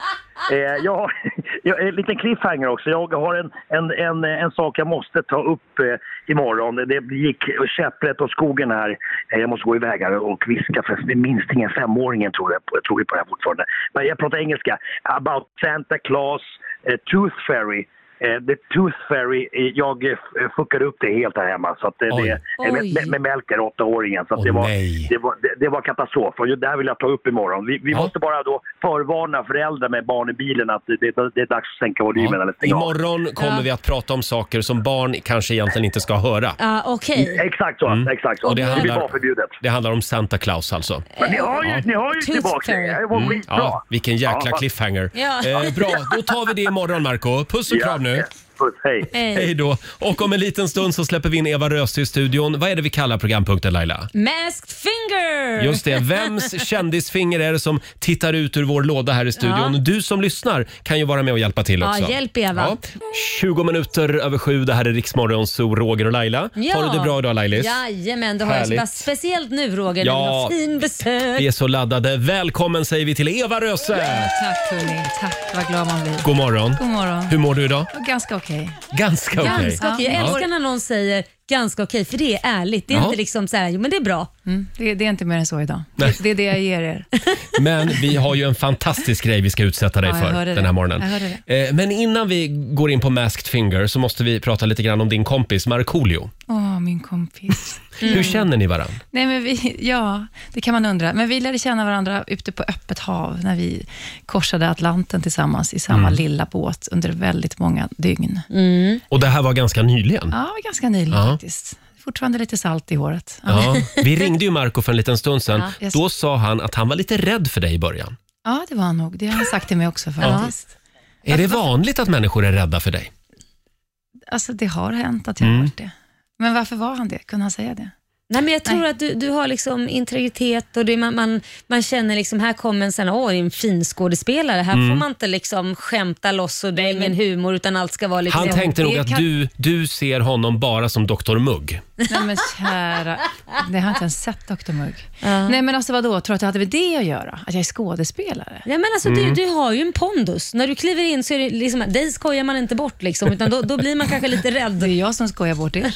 S10: Eh, jag, har, jag är en liten cliffhanger också. Jag har en, en, en, en sak jag måste ta upp eh, imorgon. Det gick käpprätt åt skogen här. Eh, jag måste gå iväg här och viska för minstingen, femåringen, tror jag, på- tror jag på det här fortfarande. Men jag pratar engelska. About Santa Claus, eh, Tooth Fairy. Eh, the Tooth Fairy, eh, jag eh, fuckade upp det helt här hemma. Så att eh,
S1: Oj.
S10: det, eh, med,
S3: Oj.
S10: med, med Melker, åttaåringen. Så att
S1: Åh,
S10: det, var,
S1: nej.
S10: det, var, det, det var katastrof. Och det här vill jag ta upp imorgon. Vi, vi
S1: Ja.
S10: måste bara då förvarna föräldrar med barn i bilen att det, det, det är dags att sänka volymen eller
S1: Ja.
S10: stänga av.
S1: Imorgon kommer
S3: Ja.
S1: vi att prata om saker som barn kanske egentligen inte ska höra.
S3: Ja, Okej.
S10: Exakt så. Exakt så.
S1: Mm. Och det
S10: det, blir
S1: handlar-
S10: bara förbjudet.
S1: Det handlar om Santa Claus alltså.
S10: Men ni har ju, ni har ju
S3: Tooth
S10: tillbaka
S3: fairy.
S10: det. Det var skitbra.
S1: Mm. Ja, vilken jäkla
S10: fast-
S1: cliffhanger.
S3: Ja.
S1: Eh, bra, då tar vi det imorgon Marco. Puss och kram nu.
S10: Puss, hej.
S3: Eh,
S1: Hej då. Och om en liten stund så släpper vi in Eva Rös till studion. Vad är det vi kallar programpunkten Laila?
S3: Masked finger!
S1: Just det, vems kändisfinger är det som tittar ut ur vår låda här i studion?
S3: Ja.
S1: Du som lyssnar kan ju vara med och hjälpa till
S3: Ja,
S1: också.
S3: hjälp, Eva.
S1: 20 minuter över sju, det här är Riksmorgon, så Roger och Laila. Har du det bra idag Lailis?
S3: Jajamän, det har jag.
S1: Härligt.
S3: Bara Speciellt nu Roger, när
S1: Ja.
S3: vi har fin
S1: Vi
S3: besök.
S1: är så laddade. Välkommen säger vi till Eva Röse!
S11: Tack hörni, tack vad glad man blir.
S1: God morgon.
S11: God morgon.
S1: Hur mår du idag?
S11: Ganska okej.
S1: Ganska okej.
S3: Ganska okej. Jag
S1: Ja.
S3: älskar när någon säger ganska okej, för det är ärligt. Det är
S1: Ja.
S3: inte liksom så här, jo men det är bra.
S11: Mm, det, det är inte mer än så idag.
S1: Nej.
S11: Det, det är det jag ger er.
S1: Men vi har ju en fantastisk grej vi ska utsätta dig
S11: Ja, jag
S1: för
S11: hörde
S1: den
S11: det.
S1: här morgonen.
S11: Jag hörde
S1: Eh, Men innan vi går in på Masked Finger så måste vi prata lite grann om din kompis Markoolio.
S11: Åh, min kompis.
S1: Hur känner ni varandra?
S11: Nej, men vi, ja, det kan man undra. Men vi lärde känna varandra ute på öppet hav när vi korsade Atlanten tillsammans i
S1: Mm.
S11: samma lilla båt under väldigt många dygn.
S1: Och det här var ganska nyligen.
S11: Ja, det var ganska nyligen
S1: Mm. Ja.
S11: faktiskt. Fortfarande lite salt i håret. Ja,
S1: Ja. Vi ringde ju Marco för en liten stund sedan.
S11: Ja, jag-
S1: Då sa han att han var lite rädd för dig i början.
S11: ja det var han nog. Det har han sagt till mig också faktiskt.
S1: Är det vanligt att människor är rädda för dig?
S11: Alltså, det har hänt att jag
S1: Mm.
S11: har varit det. Men varför var han det? Kunde han säga det?
S3: Nej, men jag tror att du, du har liksom integritet och det, man, man, man känner liksom, här kommer en, sån, åh, det är en fin skådespelare. Här
S1: Mm.
S3: får man inte liksom skämta loss och det är ingen humor utan allt ska vara liksom- lite...
S1: Han tänkte nog
S11: det
S1: att
S11: kan-
S1: du, du ser honom bara som Dr Mugg.
S11: Nej men kära, det har jag inte ens sett Dr Mugg. Nej men alltså vadå, tror du att det hade med det att göra? Att jag är skådespelare?
S3: Nej, men alltså,
S1: Mm.
S3: du, du har ju en pondus. När du kliver in så är det liksom, dig skojar man inte bort liksom, utan då, då blir man kanske lite rädd.
S11: Det är jag som skojar bort er.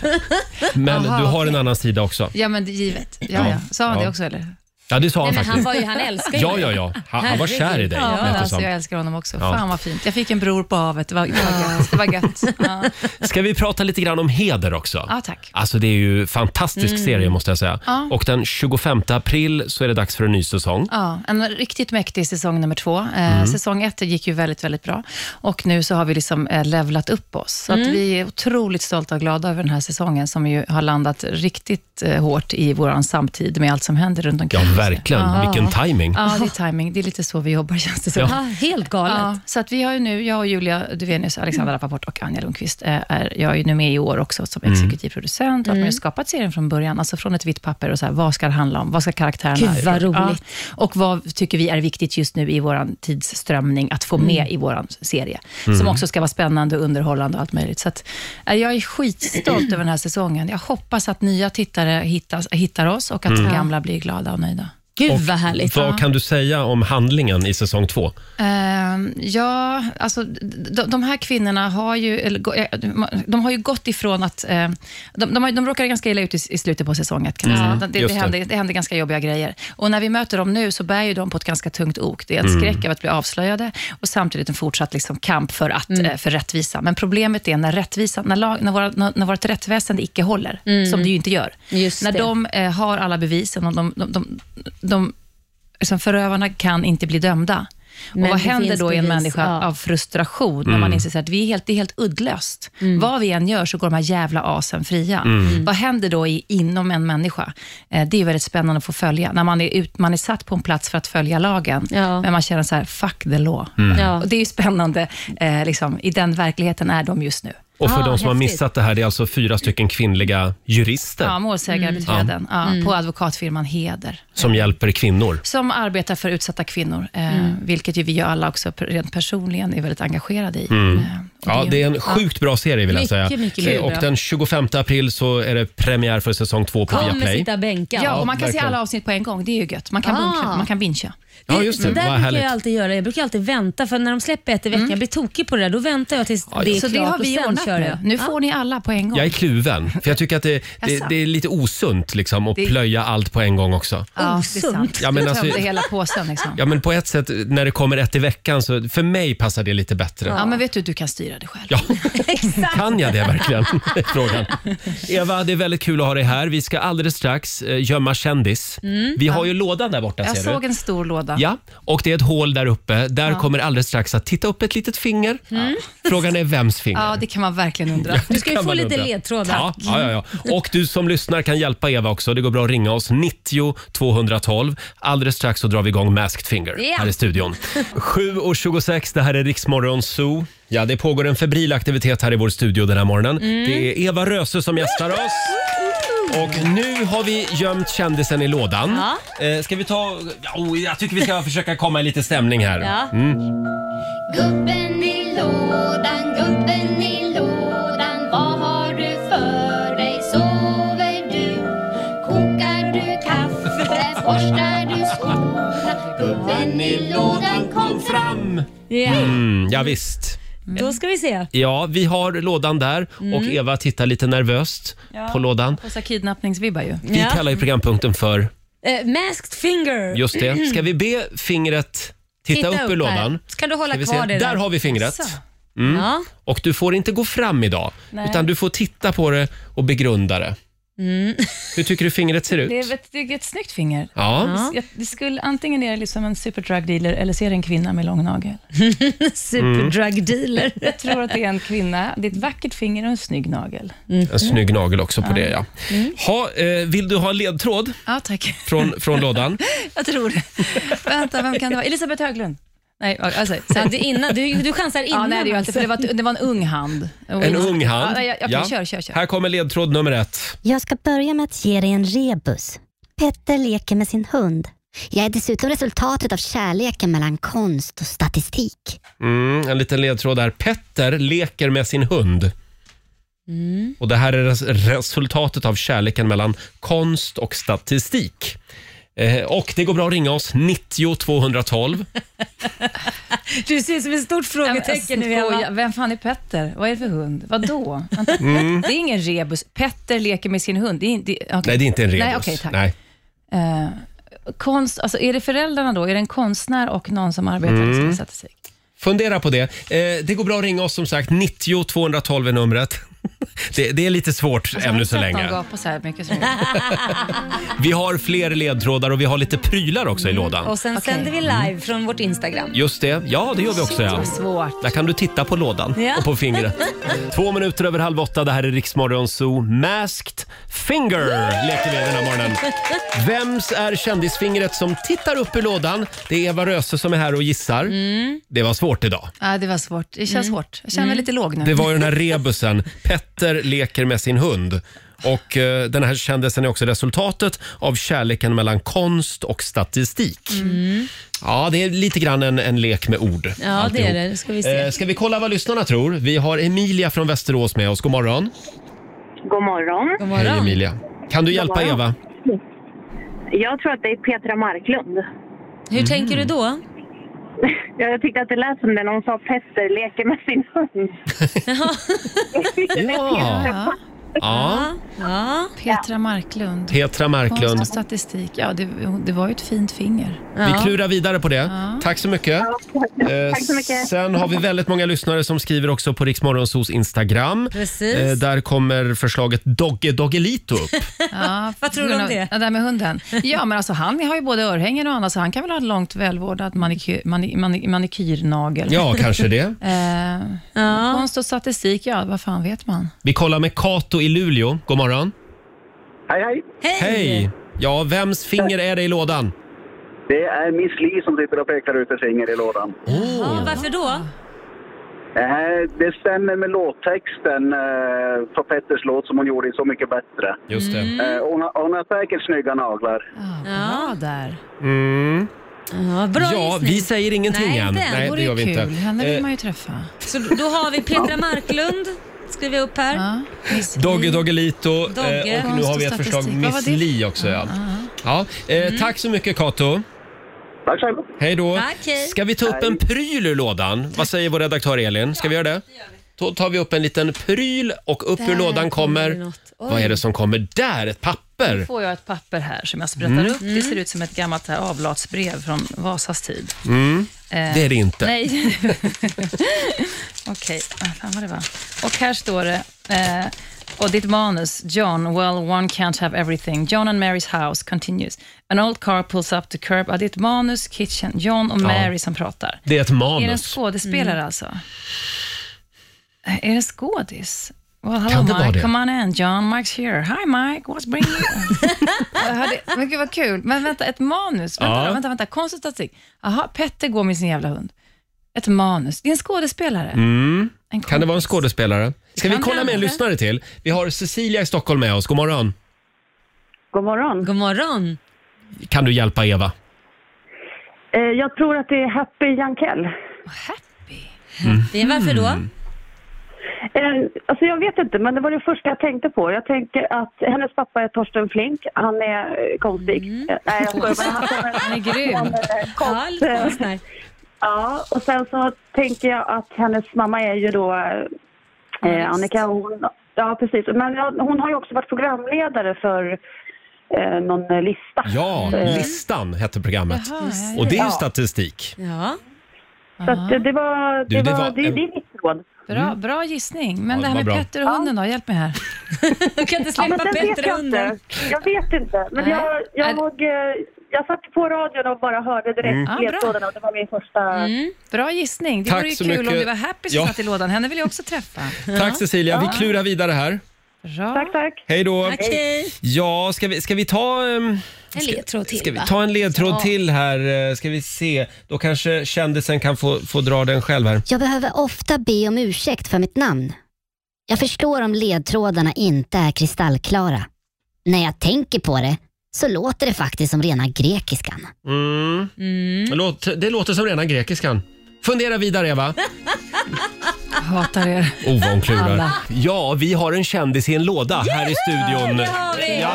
S1: Men
S11: Aha,
S1: du har en
S11: okej.
S1: annan sida också.
S11: Ja men det är givet. Ja, ja. Sa han
S1: Ja.
S11: det också eller?
S1: Ja, det sa han
S3: Nej, men han,
S1: faktiskt.
S3: var ju, han älskar ju
S1: Ja,
S3: dig.
S1: ja, ja. Han, han var kär i dig,
S11: Ja,
S1: lät
S11: men
S1: det
S11: alltså,
S1: som.
S11: jag älskar honom också.
S1: Ja.
S11: Fan vad fint. Jag fick en bror på havet. Det var, det var gött. Det var gött. Ja.
S1: Ska vi prata lite grann om heder också?
S11: Ja, tack.
S1: Alltså det är ju fantastisk serie måste jag säga.
S11: Ja.
S1: Och den 25 april så är det dags för en ny säsong.
S11: Ja, en riktigt mäktig säsong nummer två. Eh,
S1: Mm.
S11: Säsong ett gick ju väldigt, väldigt bra. Och nu så har vi liksom eh, levlat upp oss. Så
S1: Mm.
S11: att vi är otroligt stolta och glada över den här säsongen, som ju har landat riktigt eh, hårt i vår samtid med allt som händer runt
S1: Ja,
S11: omkring oss.
S1: verkligen. Vilken timing.
S11: Ja, det är timing. Det är lite så vi jobbar, känns det som.
S3: Ja, Mm. helt galet.
S11: Ja, så att vi har ju nu, jag och Julia Duvenius, Alexandra Rappaport och Anja Lundqvist, eh, är, jag är ju nu med i år också som exekutiv producent och har
S3: Mm.
S11: nu skapat serien från början, alltså från ett vitt papper och så här, vad ska det handla om? Vad ska karaktärerna...
S3: Gud, vad roligt.
S11: Ja, och vad tycker vi är viktigt just nu i vår tidsströmning att få
S3: Mm.
S11: med i vår serie, som också ska vara spännande och underhållande och allt möjligt. Så att, eh, jag är skitstolt
S3: Mm.
S11: över den här säsongen. Jag hoppas att nya tittare hittas, hittar oss och att gamla blir glada och nöjda.
S3: Gud vad härligt.
S1: Vad kan du säga om handlingen i säsong två?
S11: Ehm, ja, alltså de, de här kvinnorna har ju, eller, gå- eh, de har ju gått ifrån att... eh, De, de, har- de råkade ganska illa ut i, i slutet på säsongen. Kan man säga. Det, det,
S1: just det.
S11: hände, det hände ganska jobbiga grejer. Och När vi möter dem nu så bär ju de på ett ganska tungt ok. Det är en skräck över att bli avslöjade och samtidigt en fortsatt liksom, kamp för, att, eh, för rättvisa. Men problemet är när, rättvisa, när, lag, när, våra, när, när vårt rättsväsende icke håller, som det ju inte gör.
S3: Just
S11: när
S3: det.
S11: de eh, har alla bevisen och de, de, de, de, liksom förövarna kan inte bli dömda.
S3: Men
S11: och vad
S3: det
S11: händer
S3: finns
S11: då i en
S3: bevis,
S11: människa
S3: ja.
S11: av frustration när
S12: Mm.
S11: man inser så att vi är helt, det är helt uddlöst.
S3: Mm.
S11: Vad vi än gör så går de här jävla asen fria.
S12: Mm.
S11: Vad händer då i, inom en människa? Eh, det är ju väldigt spännande att få följa. När man är, ut, man är satt på en plats för att följa lagen, men man känner så här, fuck the law.
S1: Mm. Ja.
S11: Och det är ju spännande, eh, liksom, i den verkligheten är de just nu.
S1: Och för de som har missat det här, det är alltså fyra stycken kvinnliga jurister
S11: Ja, målsägarbiträden
S3: Mm.
S11: ja. på advokatfirman Heder.
S1: som hjälper kvinnor.
S11: Som arbetar för utsatta kvinnor, eh, vilket ju vi ju alla också per- rent personligen är väldigt engagerade i. Eh,
S1: Mm. Ja,
S11: det
S1: det är
S11: är-
S1: en sjukt bra serie vill jag
S11: Mycket,
S1: säga.
S11: mycket, mycket
S1: och
S11: bra.
S1: den 25 april så är det premiär för säsong två på Viaplay.
S11: bänkad. Ja, och man kan
S1: verkligen.
S11: se alla avsnitt på en gång. Det är ju gött. Man kan,
S3: Ah.
S11: bunkra, man kan bincha.
S1: Ja, just det.
S3: där
S1: Vad
S3: brukar
S1: härligt.
S3: jag alltid göra. Jag brukar alltid vänta, för när de släpper ett i veckan, jag blir tokig på det där, då väntar jag tills det är
S11: Mm. Så det
S3: klart
S11: har vi
S3: och sen
S11: ordnat
S3: kör
S11: nu.
S3: jag.
S11: Nu får ni alla på en gång.
S1: Jag är kluven, för jag tycker att det, det,
S11: Jaså?
S1: det är lite osunt liksom, att
S11: Det-
S1: plöja allt på en gång också.
S11: Ja, det är sant.
S1: Ja, men alltså-
S11: Tömde hela påsen liksom.
S1: Ja, men på ett sätt, när det kommer ett i veckan, så för mig passar det lite bättre.
S11: Ja, men vet du, du kan styra det själv.
S1: Ja. Kan jag det verkligen? Är Frågan. Eva, det är väldigt kul att ha dig här. Vi ska alldeles strax eh, gömma kändis.
S11: Mm.
S1: Vi har
S11: Ja.
S1: ju lådan där borta
S11: Jag
S1: ser
S11: såg
S1: du.
S11: en stor låda.
S1: Ja, och det är ett hål där uppe. Där
S11: Ja.
S1: kommer alldeles strax att titta upp ett litet finger.
S11: Mm.
S1: Frågan är vems finger?
S11: Ja, det kan man verkligen undra.
S1: Ja, det kan man undra. Ja, ja, ja, ja. Och du som lyssnar kan hjälpa Eva också. Det går bra att ringa oss 90 212. Alldeles strax så drar vi igång Masked Finger
S3: Ja.
S1: här i studion. 7.26, det här är Riksmorgon Zoo. Ja, det pågår en febril aktivitet här i vår studio den här morgonen.
S13: Mm.
S1: Det är Eva Röse som gästar oss. Och nu har vi gömt kändisen i lådan. Eh, ska vi ta... Oh, jag tycker vi ska försöka komma i lite stämning här.
S13: Ja.
S1: Mm.
S13: Gubben i lådan, gubben i lådan Vad har du för dig? Sover du? Kokar du kaffe? Borstar du skorna? Gubben i lådan kom fram!
S1: Mm, ja, visst.
S3: Då ska vi se.
S1: Ja, vi har lådan där och
S11: Mm.
S1: Eva tittar lite nervöst på lådan.
S11: Och så kidnappningsvibbar ju.
S1: Vi kallar ju programpunkten för
S3: Eh, masked finger.
S1: just det. Ska vi be fingret titta, upp, ur lådan?
S3: Här. Ska du hålla
S1: Ska vi se?
S3: kvar det
S1: Där har vi fingret.
S3: Så.
S1: Mm.
S3: Ja.
S1: Och du får inte gå fram idag,
S3: Nej.
S1: utan du får titta på det och begrunda det.
S11: Mm.
S1: Hur tycker du fingret ser
S11: Det
S1: ut?
S11: är, ett, det är ett snyggt finger.
S1: Ja.
S11: Jag, det skulle, antingen är det liksom en superdrug dealer eller så är det en kvinna med lång nagel.
S3: Superdrug dealer.
S11: Jag tror att det är en kvinna. Det är ett vackert finger och en snygg nagel.
S1: En snygg nagel också på
S11: Ja.
S1: det, ja. Ha, eh, vill du ha ledtråd
S11: Ja, tack.
S1: från, från lådan?
S11: Jag tror det. Vänta, vem kan det vara? Elisabeth Höglund? Nej, alltså,
S3: Ja, det är innan. Du- du chansar
S11: Ja,
S3: innan
S11: nej, det, gör jag inte, för det, var, det var en ung hand.
S1: En ung
S11: Ja,
S1: hand.
S11: nej, jag, jag, Kör, kör, kör.
S1: Här kommer ledtråd nummer ett.
S14: Jag ska börja med att ge dig en rebus. Petter leker med sin hund. Jag är dessutom resultatet av kärleken mellan konst och statistik.
S1: Mm, en liten ledtråd där. Petter leker med sin hund. Och Det här är res- resultatet av kärleken mellan konst och statistik. Eh, och Det går bra att ringa oss, 90 212.
S3: Du ser ut som ett stort
S11: frågetecken nu, Eva. Vem fan är Petter? Vad är det för hund? Vadå? Vänta.
S1: Mm.
S11: Det är ingen rebus. Petter leker med sin hund. Det är, in- det, okej.
S1: Nej, det är inte en rebus.
S11: Nej, okej, tack.
S1: Nej.
S11: Eh, konst, alltså, är det föräldrarna då? Är det en konstnär och någon som arbetar
S1: Mm.
S11: liksom, med statistik?
S1: Fundera på det. Eh, det går bra att ringa oss, som sagt. 90 212 är numret. Det, det är lite svårt
S11: Alltså, har
S1: ännu
S11: du
S1: så
S11: sett
S1: länge.
S11: dem gapa så här mycket som
S1: Vi har fler ledtrådar och vi har lite prylar också
S11: Mm,
S1: i lådan.
S3: Och sen sänder vi live från vårt Instagram.
S1: Just det. Ja, det gör vi också. Ja.
S3: Så svårt.
S1: Där kan du titta på lådan
S3: Ja.
S1: och på fingret. Två minuter över halv åtta. Det här är Riksmorgon Zoo. Masked Finger leker vi den här morgonen. Vems är kändisfingret som tittar upp ur lådan? Det är Eva Röse som är här och gissar.
S3: Mm.
S1: Det var svårt idag.
S11: Ja, det var svårt. Det känns hårt. Jag känner mig lite låg nu.
S1: Det var ju den här rebusen. Petter leker med sin hund. Och eh, den här kändisen är också resultatet av kärleken mellan konst och statistik. Ja, det är lite grann en, en lek med ord.
S3: Mm. Ja, det är det. Nu ska vi se.
S1: Eh, ska vi kolla vad lyssnarna tror? Vi har Emilia från Västerås med oss. God morgon.
S9: God morgon. God
S1: Hej Emilia. Kan du hjälpa
S9: God
S1: Eva?
S9: morgon. Jag tror att det är Petra Marklund.
S3: Hur tänker du då?
S9: Jag tyckte att det lät som det när hon sa Petter leker med sin hund.
S1: Ja. Ja.
S11: ja. Petra Marklund.
S1: Petra Marklund.
S11: Konst och statistik. Ja, det, det var ju ett fint finger.
S1: Vi klurar vidare på det.
S11: Ja.
S1: Tack så mycket. Eh,
S11: Tack så mycket.
S1: Sen har vi väldigt många lyssnare som skriver också på Riksmorgonsos Instagram.
S11: Precis.
S1: Eh, Där kommer förslaget Dogge Doggelito upp.
S11: Ja, Vad
S3: tror du om det?
S11: Ja, det här med hunden. Ja, men alltså han har ju både örhängen och annat, så han kan väl ha en långt välvårdad manikyr, mani, mani, manikyrnagel.
S1: Ja, kanske det.
S11: Eh, Konst och statistik, ja, vad fan vet man?
S1: Vi kollar med Kato i Luleå. God morgon.
S12: Hej, hej.
S1: Hej! Ja, vems finger är det i lådan?
S12: Det är Miss Li som sitter och pekar ut ett finger i lådan.
S1: Mm.
S3: Ja, varför då?
S12: Eh, Det stämmer med låttexten eh, på Petters låt som hon gjorde i Så mycket bättre.
S1: Just det.
S10: Mm.
S12: Eh, Hon, har, hon har säkert snygga naglar.
S11: Ja, där.
S1: Mm.
S3: Ja, bra
S1: ja,
S3: gissning.
S1: vi säger ingenting
S3: Nej,
S1: än.
S3: inte än.
S1: Nej,
S3: Vore
S1: det
S3: ju
S1: gör vi inte.
S11: Kul, henne
S1: Eh,
S11: vill man ju träffa.
S3: Så då har vi Petra Marklund, skriver jag upp här.
S1: Dogge Doggelito
S3: Dogge.
S1: eh, och nu
S3: Konst
S1: har
S3: och
S1: vi ett förslag
S3: statistik. Vad var
S1: Miss
S3: det?
S1: Li också. Ja. Ja, eh, Tack så mycket Kato.
S12: Tack själv.
S1: Hej då.
S3: Tack, hej.
S1: Ska vi ta upp
S3: Hej.
S1: en pryl ur lådan? Vad säger vår redaktör Elin? Ska vi göra det? Då tar vi upp en liten pryl och upp
S11: Där
S1: ur lådan
S11: kommer
S1: kommer...
S11: något. Oj.
S1: Vad är det som kommer där? Ett
S11: Nu
S1: papper?
S11: får jag ett papper här som jag sprättar
S1: Mm.
S11: upp. Det ser ut som ett gammalt här avlatsbrev från Vasas tid.
S1: Mm.
S11: Eh,
S1: Det är det inte.
S11: Nej. Okej, ah, fan vad det var. Och här står det, eh, och ditt manus, John, well one can't have everything. John and Mary's house continues. An old car pulls up the curb. Ah, det är ett manus, kitchen, John och
S1: Ja.
S11: Mary som pratar.
S1: Det är ett
S11: Är det en
S1: manus.
S11: skådespelare
S1: Mm.
S11: alltså? Eh, Är det en skådis? Well, hello
S1: Kan det vara
S11: Mike,
S1: det?
S11: come on in. John, Mike's here. Hi Mike, what's bringing you? Jag hade, men gud vad kul. Men vänta, ett manus. Vänta,
S1: Ja.
S11: då, vänta, vänta. Konst och statistik. Jaha, Petter går med sin jävla hund. Ett manus. Det är en skådespelare.
S1: Mm.
S11: En
S1: Kan det vara en skådespelare? Ska vi
S11: kan
S1: kolla
S11: det
S1: med en
S11: vara.
S1: lyssnare till? Vi har Cecilia i Stockholm med oss. God morgon.
S9: God morgon.
S3: God morgon.
S1: Kan du hjälpa Eva?
S9: Eh, jag tror att det är Happy Jankell.
S3: Det är- Varför då?
S1: Mm.
S9: Eh, alltså jag vet inte, men det var det första jag tänkte på. Jag tänker att hennes pappa är Torsten Flink. Han är eh, konstig. Eh, nej, jag skojar bara.
S11: Han är grym.
S3: Ja, lite konstnär.
S9: Ja, och sen så tänker jag att hennes mamma är ju då eh, Annika. Hon, ja, precis. Men ja, hon har ju också varit programledare för eh, någon eh, lista.
S1: Ja,
S9: Eh,
S1: Listan hette programmet.
S9: Jaha, just det.
S1: Och det är ju
S9: Ja.
S1: statistik.
S3: Ja.
S9: Så att, eh, det var,
S1: Du,
S9: det
S1: det
S9: var,
S1: var
S9: det,
S1: en-
S9: det är mitt råd.
S11: Bra, bra gissning. Men
S1: Ja,
S11: det här
S1: det
S11: med
S1: var bra.
S11: Petter och hunden då? Hjälp mig här.
S3: Du kan inte
S9: Ja, men
S3: släppa
S9: den vet
S3: Petter
S9: jag
S3: undan.
S9: inte. Jag vet inte. Men
S11: Nej.
S9: jag, jag, eh, jag satte på radion och bara hörde
S1: Mm.
S9: direkt
S11: Ja,
S9: mm.
S11: bra.
S9: ledtrådarna och det var min första...
S11: Bra gissning. Det
S1: Tack
S11: vore ju
S1: så
S11: kul om
S1: mycket.
S11: det var Happy som
S1: Ja.
S11: satt i lådan. Henne vill jag också träffa.
S1: Tack Cecilia, vi klurar vidare här.
S9: Tack, tack.
S1: Hej då.
S3: Okej.
S1: Ja, ska vi, ska vi ta... ehm,
S3: En ledtråd till
S1: Ska vi
S3: va?
S1: ta en ledtråd
S3: Ja.
S1: till här? eh, Ska vi se. Då kanske kändisen kan få, få dra den själv här.
S14: Jag behöver ofta be om ursäkt för mitt namn. Jag förstår om ledtrådarna inte är kristallklara. När jag tänker på det så låter det faktiskt som rena grekiskan.
S1: Mm. Det, låter, det låter som rena grekiskan. Fundera vidare Eva.
S11: Hatar er.
S1: Oh, vad hon klurar.
S11: Alla.
S1: Ja, vi har en kändis i en låda här i studion. Ja,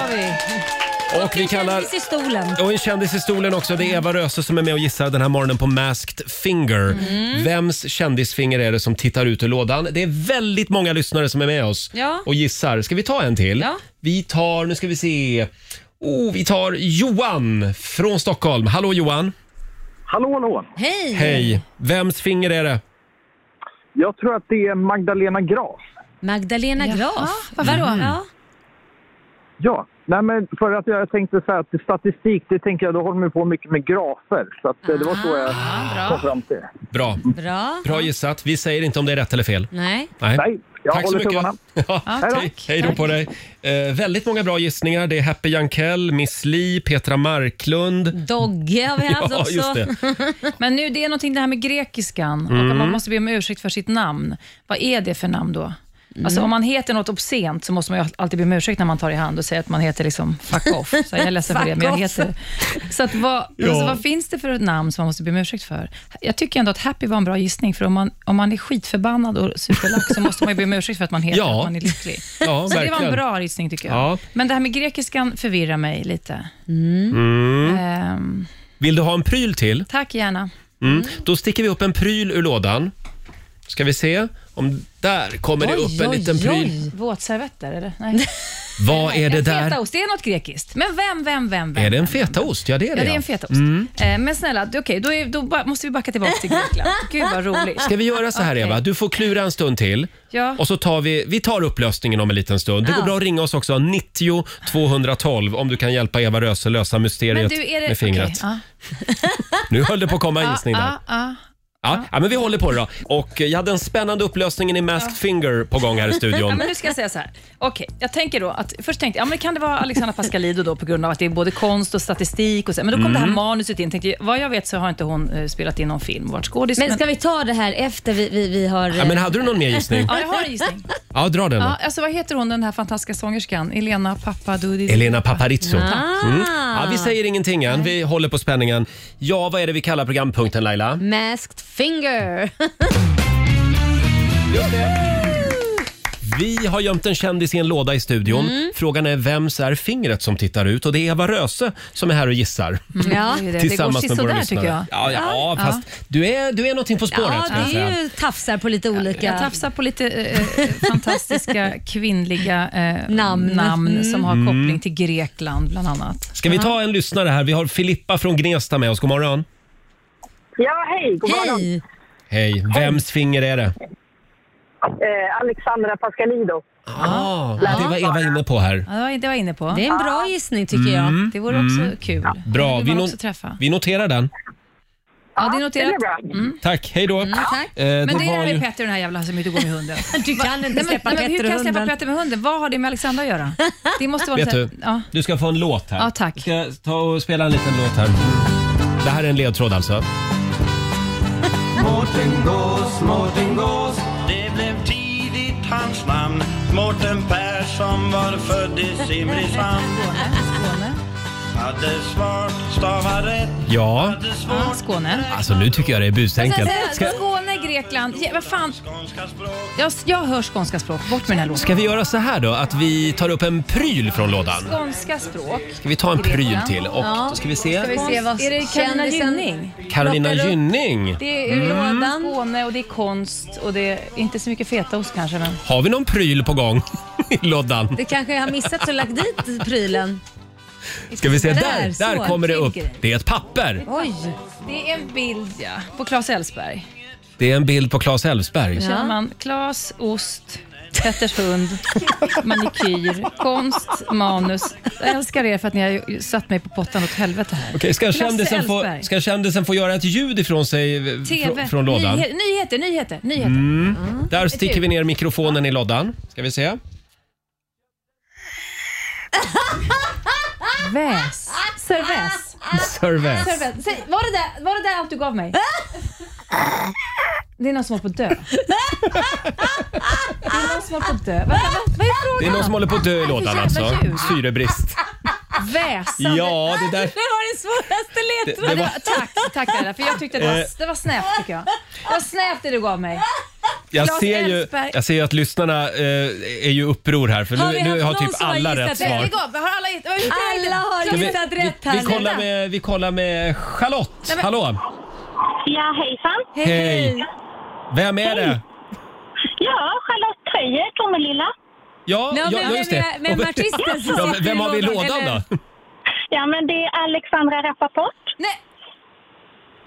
S1: och vi kallar...
S3: I stolen.
S1: Och en kändis i stolen också. Det är Eva Röse som är med och gissar den här morgonen på Masked Finger. Vems kändisfinger är det som tittar ut ur lådan? Det är väldigt många lyssnare som är med oss
S3: Ja.
S1: och gissar. Ska vi ta en till?
S3: Ja.
S1: Vi tar, nu ska vi se. Oh, vi tar Johan från Stockholm. Hallå Johan!
S15: Hallå, hallå.
S3: Hej!
S1: Hej! Vems finger är det?
S15: Jag tror att det är Magdalena Graf.
S3: Magdalena Graf. Mm. Varför då? Ja.
S15: Ja, nej men för att jag tänkte så här att statistik, det tänker jag, då håller man på mycket med grafer. Så att eh, det var så jag
S16: Ah,
S15: kom fram till.
S1: Bra.
S3: Bra.
S1: Bra gissat. Vi säger inte om det är rätt eller fel.
S3: Nej.
S1: Nej.
S15: jag
S1: tack så
S15: håller
S1: mycket.
S15: tummarna.
S1: Ja,
S15: Hej då.
S1: tack. Hej då på dig. Eh, väldigt många bra gissningar. Det är Happy Jankell, Miss Li, Petra Marklund.
S11: Dogge
S1: har vi haft
S11: Alltså,
S1: Ja, också. just det.
S11: Men nu, det är någonting det här med grekiskan och
S1: Mm.
S11: att man måste be om ursäkt för sitt namn. Vad är det för namn då? Alltså om man heter något obscent så måste man ju alltid be om ursäkt när man tar i hand och säger att man heter liksom fuck off. Så jag är ledsen för det,
S3: Fuck
S11: men jag
S3: off.
S11: heter Så att vad,
S1: Ja.
S11: alltså, vad finns det för ett namn som man måste be om ursäkt för? Jag tycker ändå att happy var en bra gissning, för om man, om man är skitförbannad och superlack så måste man ju be om ursäkt för att man heter
S1: Ja.
S11: att man är lycklig. så
S1: Ja,
S11: det var
S1: verkligen.
S11: en bra gissning tycker jag.
S1: Ja.
S11: Men det här med grekiskan förvirrar mig lite.
S1: Mm.
S11: Ehm,
S1: Vill du ha en pryl till?
S11: tack gärna.
S1: Mm. Då sticker vi upp en pryl ur lådan. Ska vi se om... Där kommer det upp en liten pryl.
S11: Våtservetter, eller? Nej.
S1: Vad är det där?
S11: Fetaost, det är något grekiskt. Men vem, vem, vem? vem?
S1: Är det en fetaost? Ja, det är det.
S11: Ja, det är en fetaost.
S1: Mm.
S11: Eh, Men snälla, det- okej, då, är- då ba- måste vi backa tillbaka till Grekland. Gud vad roligt.
S1: Ska vi göra så här,
S11: Ah, Okej.
S1: Eva? Du får klura en stund till.
S11: Ja.
S1: Och så tar vi, vi tar upplösningen om en liten stund. Det går
S11: Ja.
S1: bra att ringa oss också, 90 212 om du kan hjälpa Eva Röse lösa mysteriet med fingret.
S11: okej, ja.
S1: Nu höll det på att komma en gissning där.
S11: Ja, ja,
S1: Ja, ja, men vi håller på det då. Och eh, jag hade en spännande upplösningen i Masked Finger på gång här i
S11: ja. ja,
S1: studion.
S11: men nu ska jag säga så här. Okej, jag tänker då att först tänkte jag, ja, men kan det vara Alexandra Pascalido då på grund av att det är både konst och statistik och så, men då kom
S1: Mm.
S11: det här manuset in. Tänkte, jag, vad jag vet så har inte hon eh, spelat in någon film och varit skådis.
S3: Men ska vi ta det här efter vi, vi, vi har...
S1: Ja, men hade du någon mer gissning?
S11: Ja, jag har en gissning.
S1: Ja, dra den.
S11: Ja, alltså, vad heter hon den här fantastiska sångerskan? Elena Papadoudou.
S1: Elena Paparizou.
S3: eh,
S11: Ah.
S1: Mm. Ja, vi säger ingenting än. Vi håller på spänningen. Ja, vad är det vi kallar programpunkten Laila?
S3: Masked
S1: Mm.
S3: finger.
S1: Vi har gömt en kändis i en låda i studion.
S3: Mm.
S1: Frågan är vems är fingret som tittar ut? Och det är Eva Röse som är här och gissar.
S3: Ja. Det går
S1: Tillsammans med
S3: sisådär,
S1: våra
S3: tycker
S1: lyssnare. Ja,
S3: jag.
S1: ja, ja,
S3: Ja.
S1: fast Du, är, du är någonting på spåret.
S11: Ja,
S1: ska jag
S11: det är
S1: säga.
S11: ju
S3: tafsar på lite olika...
S11: Jag tafsar på lite eh, eh, fantastiska kvinnliga eh, namn, som har
S1: Mm.
S11: koppling till Grekland bland annat.
S1: Ska vi ta en lyssnare här? Vi har Filippa från Gnesta med oss. God morgon.
S17: Ja, hej. God morgon.
S1: Hej. Vems finger är det?
S17: Eh, Alexandra Pascalido.
S1: Ah, det var Eva inne på här.
S11: Ja, det var jag- det var jag inne på.
S3: Det är en bra gissning tycker jag.
S1: Mm.
S11: Det vore
S1: Mm.
S11: också kul.
S1: Bra.
S11: vill
S1: Vi,
S11: man
S1: no-
S11: också träffa.
S1: vi noterar den.
S11: Ja, det är noterat.
S3: det är bra.
S11: Mm.
S1: Tack. Hej då.
S11: tack.
S1: Eh,
S11: men det är det
S1: var
S11: här med
S1: ju-
S11: Petter och den här jävla som inte går med hunden.
S3: Du kan inte släppa
S11: nej, men Hur
S3: Petter
S11: kan
S3: och
S11: jag släppa
S3: hunden?
S11: Petter med hunden? Vad har det med Alexandra att göra? Det måste vara
S1: Vet
S11: så här-
S1: du,
S11: Ja.
S1: du ska få en låt här.
S11: Ja, tack.
S1: Jag ska ta och spela en liten låt här. Det här är en ledtråd alltså.
S18: Mårten Gås, Mårten Gås Det blev tidigt hans namn Mårten Persson var född i Simrishamn Hade svart, stavar rätt
S1: Ja.
S11: Ja, Skåne.
S1: Alltså nu tycker jag det är busenkelt. Ska,
S11: Skåne, Grekland. Ja, vad fan? Jag, jag hör skånska språk. Bort med den här låten.
S1: ska vi göra så här då? Att vi tar upp en pryl från lådan?
S11: Skånska språk.
S1: Ska vi ta en pryl
S11: Grekland.
S1: till? Och
S11: Ja.
S1: då ska vi se.
S11: Ska vi se vad
S3: Är det Carolina
S11: kändisen-
S3: Gynning?
S1: Carolina
S11: Plockar upp.
S1: Gynning.
S11: Det är ur
S1: Mm.
S11: lådan. Skåne och det är konst och det är inte så mycket fetaost kanske. Men...
S1: Har vi någon pryl på gång i lådan?
S3: Det kanske jag har missat så lagt dit prylen.
S1: Ska vi se, där,
S11: så
S1: där kommer det upp.
S11: ligger
S1: Det är ett papper.
S11: Oj! Det är en bild ja, på Claes Elfsberg.
S1: Det är en bild på Claes Elfsberg.
S11: Då känner man Claes, ost, Petters hund, manikyr, konst, manus. Jag älskar er för att ni har ju satt mig på pottan åt helvete här.
S1: Okej, ska,
S11: Claes
S1: kändisen få,
S11: Elfsberg.
S1: ska kändisen få göra ett ljud ifrån sig eh, fr-
S11: TV.
S1: från lådan?
S11: Nyhe- nyheter, nyheter, nyheter.
S1: Mm. Där
S11: Ett
S1: sticker vi
S11: ljud.
S1: ner mikrofonen i lådan. Ska vi se.
S11: Väs. Serväs.
S1: Servais.
S11: Serväs. Säg, var, det där, var det där allt du gav mig? Det är någon som håller på att dö. Det är någon som håller på att dö. Vänta, vad, vad är
S1: Det är någon
S11: frågan?
S1: som håller på att dö i
S11: Vad är det för
S1: lådan
S11: jävla Alltså,
S1: alltså.
S11: ljud?
S1: Syrebrist.
S11: Väsande.
S1: Ja, det där-
S11: var den svåraste
S1: ledtråden. Det- det var-
S11: Tack, tack Laila, för jag tyckte det
S1: Eh.
S11: var, det var snävt tycker jag. Det var snävt det du gav mig.
S1: Jag
S11: Claes
S1: ser, ju,
S11: Elfsberg.
S1: jag ser ju att lyssnarna eh, är ju uppror här för
S11: Har vi
S1: nu, nu
S11: haft
S1: har
S11: någon
S1: typ
S11: som har
S1: alla
S11: gissat
S1: rätt
S11: rätt?
S1: svar.
S11: Det gav- vi har alla gett- vad är det?
S3: Alla har
S1: Ska vi-
S3: gissat
S1: vi-
S3: rätt
S1: Vi
S3: här.
S1: kollar med, vi kollar med Charlotte.
S3: Nej, men-
S1: Hallå!
S19: Ja, hejsan.
S1: Hej! Vem är det?
S19: Ja, Charlotte Höjer, Tomelilla.
S1: Ja,
S19: Ja,
S1: ja,
S19: men
S1: ja just det.
S19: vem är- vem är artisten som
S1: ja,
S19: sitter i
S1: Vem har vi i
S19: lådan,
S1: lådan då?
S19: Ja, men det är Alexandra Rappaport.
S11: Nej,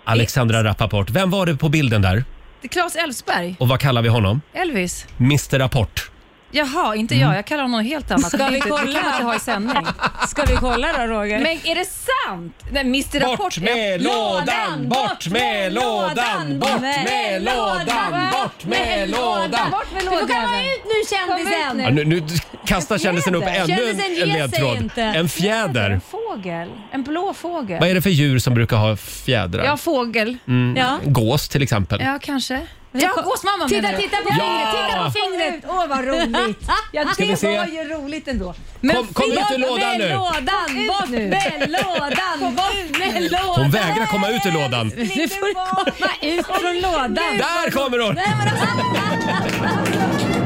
S1: Alexandra Rappaport. Vem var det på bilden där?
S11: det är Claes Elfsberg.
S1: Och vad kallar vi honom?
S11: Elvis.
S1: Mr Rapport.
S11: Jaha, inte jag. Jag kallar honom något helt annat.
S3: Ska
S11: Det är
S3: vi
S11: inte- Det
S3: kolla?
S11: kan man inte ha i sändning.
S3: Ska vi kolla då Roger?
S11: Men är det sant? Nej, Mr
S1: Bort
S11: Rapport.
S1: med lådan, bort med lådan, bort med lådan, bort med lådan.
S11: Bort med
S3: Du
S11: lådan.
S3: får komma ut nu kändisen!
S1: Ja, nu, nu kastar kändisen upp
S11: Fjäder.
S1: ännu
S11: Kändisen
S1: en
S11: ger sig
S1: ledtråd.
S11: inte.
S1: En fjäder.
S11: Fågel. En blå fågel.
S1: Vad är det för djur som brukar ha fjädrar?
S11: Ja, fågel.
S1: Mm,
S11: Ja.
S1: Gås till exempel.
S11: ja, kanske. Ja, gåsmamma
S3: Titta,
S11: menar du?
S3: titta på
S1: Ja!
S3: fingret! Titta på fingret! Åh, vad roligt! Ja,
S1: Ska vi
S3: det
S1: se?
S3: var ju roligt ändå.
S1: Kom- kom ut ur
S3: bort
S1: lådan
S3: med
S1: nu.
S3: lådan!
S11: Ut
S3: Bort
S11: nu.
S3: med lådan! Bort med lådan!
S1: Hon vägrar komma ut ur lådan.
S3: Du får komma ut från lådan.
S1: Där kommer hon!
S3: alltså.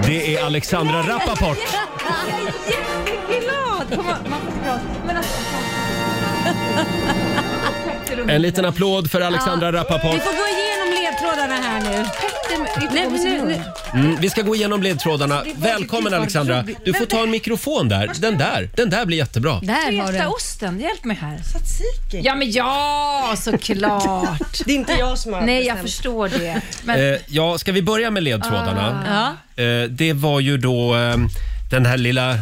S1: Det är Alexandra Rappaport.
S11: Jag är jätteglad! Kom, man får inte gråta. Men alltså,
S1: En liten applåd för Alexandra
S3: Vi
S1: Rappaport.
S3: får gå igenom ledtrådar ledtrådarna här nu. Nej, men nu, nu.
S1: Mm, vi ska gå igenom ledtrådarna.
S3: Det var
S1: Välkommen
S3: riktigt
S1: Alexandra.
S11: otroligt.
S1: Du får ta en mikrofon där. Den där, den där blir jättebra.
S11: Där har du. osten, hjälp mig här. Tzatziki. Ja, men ja, såklart. det är inte jag som
S20: har
S11: Nej, jag
S20: bestämt.
S11: förstår det. Men,
S1: Eh, ja, ska vi börja med ledtrådarna? Eh, det var ju då eh, den här lilla eh,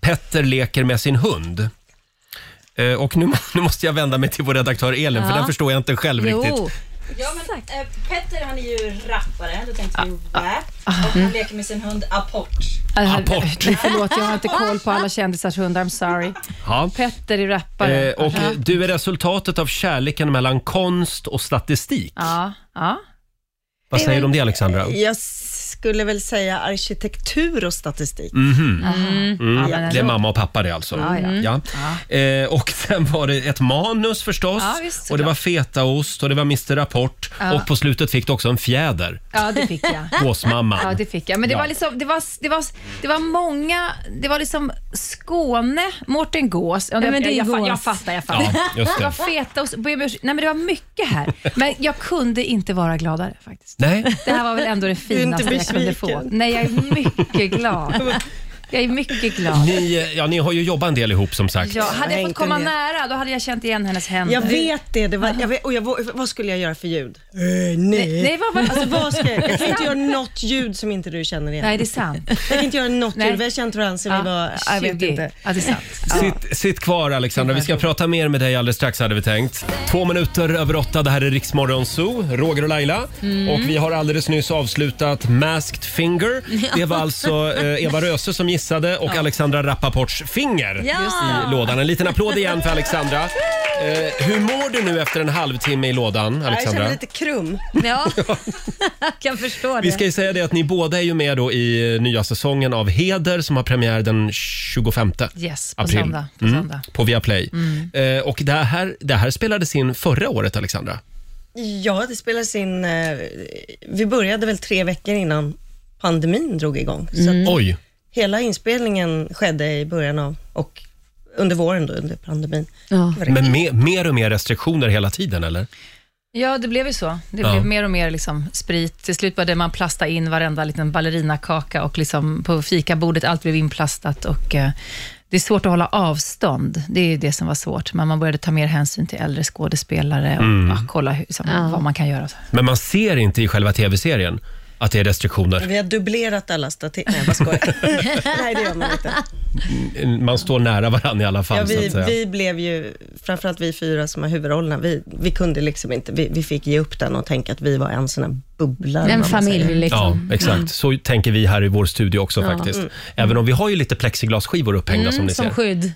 S1: Petter leker med sin hund. Eh, och nu, må- nu måste jag vända mig till vår redaktör Elin, för
S20: Ja.
S1: den förstår jag inte själv riktigt.
S20: Ja, men, eh, Petter han är ju rappare, då tänkte
S1: Ah,
S20: vi rap. Och han leker med sin hund Apport.
S1: Eh,
S11: Äh,
S1: Apport.
S11: nej, Förlåt, jag har inte koll på alla kändisars hundar. I'm sorry.
S1: Ja.
S11: Petter är rappare.
S1: Eh, och eh, du är resultatet av kärleken mellan konst och statistik.
S11: Ja, ja.
S1: Vad säger du om det Alexandra?
S20: Jag skulle väl säga arkitektur och statistik.
S1: Mhm.
S20: Mhm.
S1: Mm.
S20: Ja, men
S1: Det är
S20: ändå.
S1: mamma och pappa det alltså.
S20: Ja, ja.
S1: Eh, och sen var det ett manus förstås.
S11: Ja, visst,
S1: och det var
S11: såklart.
S1: fetaost och det var Mr Rapport.
S11: Ja.
S1: Och på slutet fick du också en fjäder.
S11: Ja, det fick jag.
S1: Gåsmamman.
S11: Ja, det fick jag. Men det
S1: Ja.
S11: var liksom, det var, det var, det var många, det var liksom Skåne, Mårten Gås. Ja,
S3: Nej, men det är
S11: jag, jag,
S3: Gås.
S11: fa- jag fattar, jag fattar.
S1: Ja, just det.
S11: var feta och, nej, men det var mycket här. Men jag kunde inte vara gladare faktiskt.
S1: Nej.
S11: Det här var väl ändå det
S20: är inte
S11: finaste jag kunde få.
S20: besviken.
S11: Nej, jag är mycket glad. Jag är mycket glad.
S1: Ni, eh, ja, ni har ju jobbat en del ihop som sagt.
S11: Ja, hade
S20: Jag
S11: jag
S20: hängde
S11: fått komma
S20: med.
S11: nära, då hade jag känt igen hennes händer.
S20: Jag vet det. det var, jag vet, och jag, vå- vad skulle jag göra för ljud? nej.
S11: nej, vad var-
S20: alltså, vad ska jag, jag kan inte
S11: Sant.
S20: göra något ljud som inte du känner igen.
S11: Nej, det är sant.
S20: Jag kan inte göra något
S11: Nej.
S20: ljud. Vi har känt varandra sen vi var... Jag vet
S11: 20.
S20: inte.
S11: Ja, det är sant.
S1: Sitt, sitt kvar Alexandra, vi ska prata mer med dig alldeles strax hade vi tänkt. Två minuter över åtta, det här är Riksmorgon Zoo, Roger och Laila.
S18: Mm.
S1: Och vi har alldeles nyss avslutat Masked Finger. Det var alltså eh, Eva Röse som gissade och Alexandra Rappaports finger
S18: Ja.
S1: i lådan. En liten applåd igen för Alexandra. Eh, hur mår du nu efter en halvtimme i lådan,
S20: Ja, Jag
S1: Alexandra?
S20: känner lite krum.
S3: Ja, jag kan förstå det.
S1: Vi ska ju säga det att ni båda är ju med då i nya säsongen av Heder som har premiär den 25
S11: Yes, på
S1: april.
S11: söndag. På
S1: Mm,
S11: söndag.
S1: på Viaplay. Eh, och det här, det här spelades in förra året, Alexandra.
S20: Ja, det spelades in... eh, Vi började väl tre veckor innan pandemin drog igång.
S1: Mm.
S20: Så att
S1: Oj!
S20: Hela inspelningen skedde i början av och under våren då, under pandemin. Var det-
S1: Men me, mer och mer restriktioner hela tiden, eller?
S11: Ja, det blev ju så. Det
S1: Ja.
S11: blev mer och mer liksom sprit. Till slut började man plasta in varenda liten ballerinakaka och liksom på fikabordet, allt blev inplastat. Och, eh, det är svårt att hålla avstånd. Det är ju det som var svårt. Men man började ta mer hänsyn till äldre skådespelare och
S1: Mm.
S11: ja, kolla hur, liksom, vad man kan göra.
S1: Men man ser inte i själva tv-serien att det är restriktioner.
S20: Vi har dubblerat alla statister. Nej, jag bara skojar. Nej, det gör man inte.
S1: Man står nära varandra i alla fall,
S20: Ja,
S1: så
S20: vi,
S1: att säga.
S20: vi blev ju, framförallt vi fyra som har huvudrollerna, vi, vi kunde liksom inte, vi, vi fick ge upp den och tänka att vi var en sån här bubbla. eller
S3: En
S20: vad man
S3: familj,
S20: säger.
S11: liksom.
S1: Ja, exakt. Så tänker vi här i vår studio också
S20: Ja.
S1: faktiskt.
S20: Mm.
S1: Även om vi har ju lite plexiglasskivor upphängda
S3: Mm,
S1: som ni ser.
S3: skydd.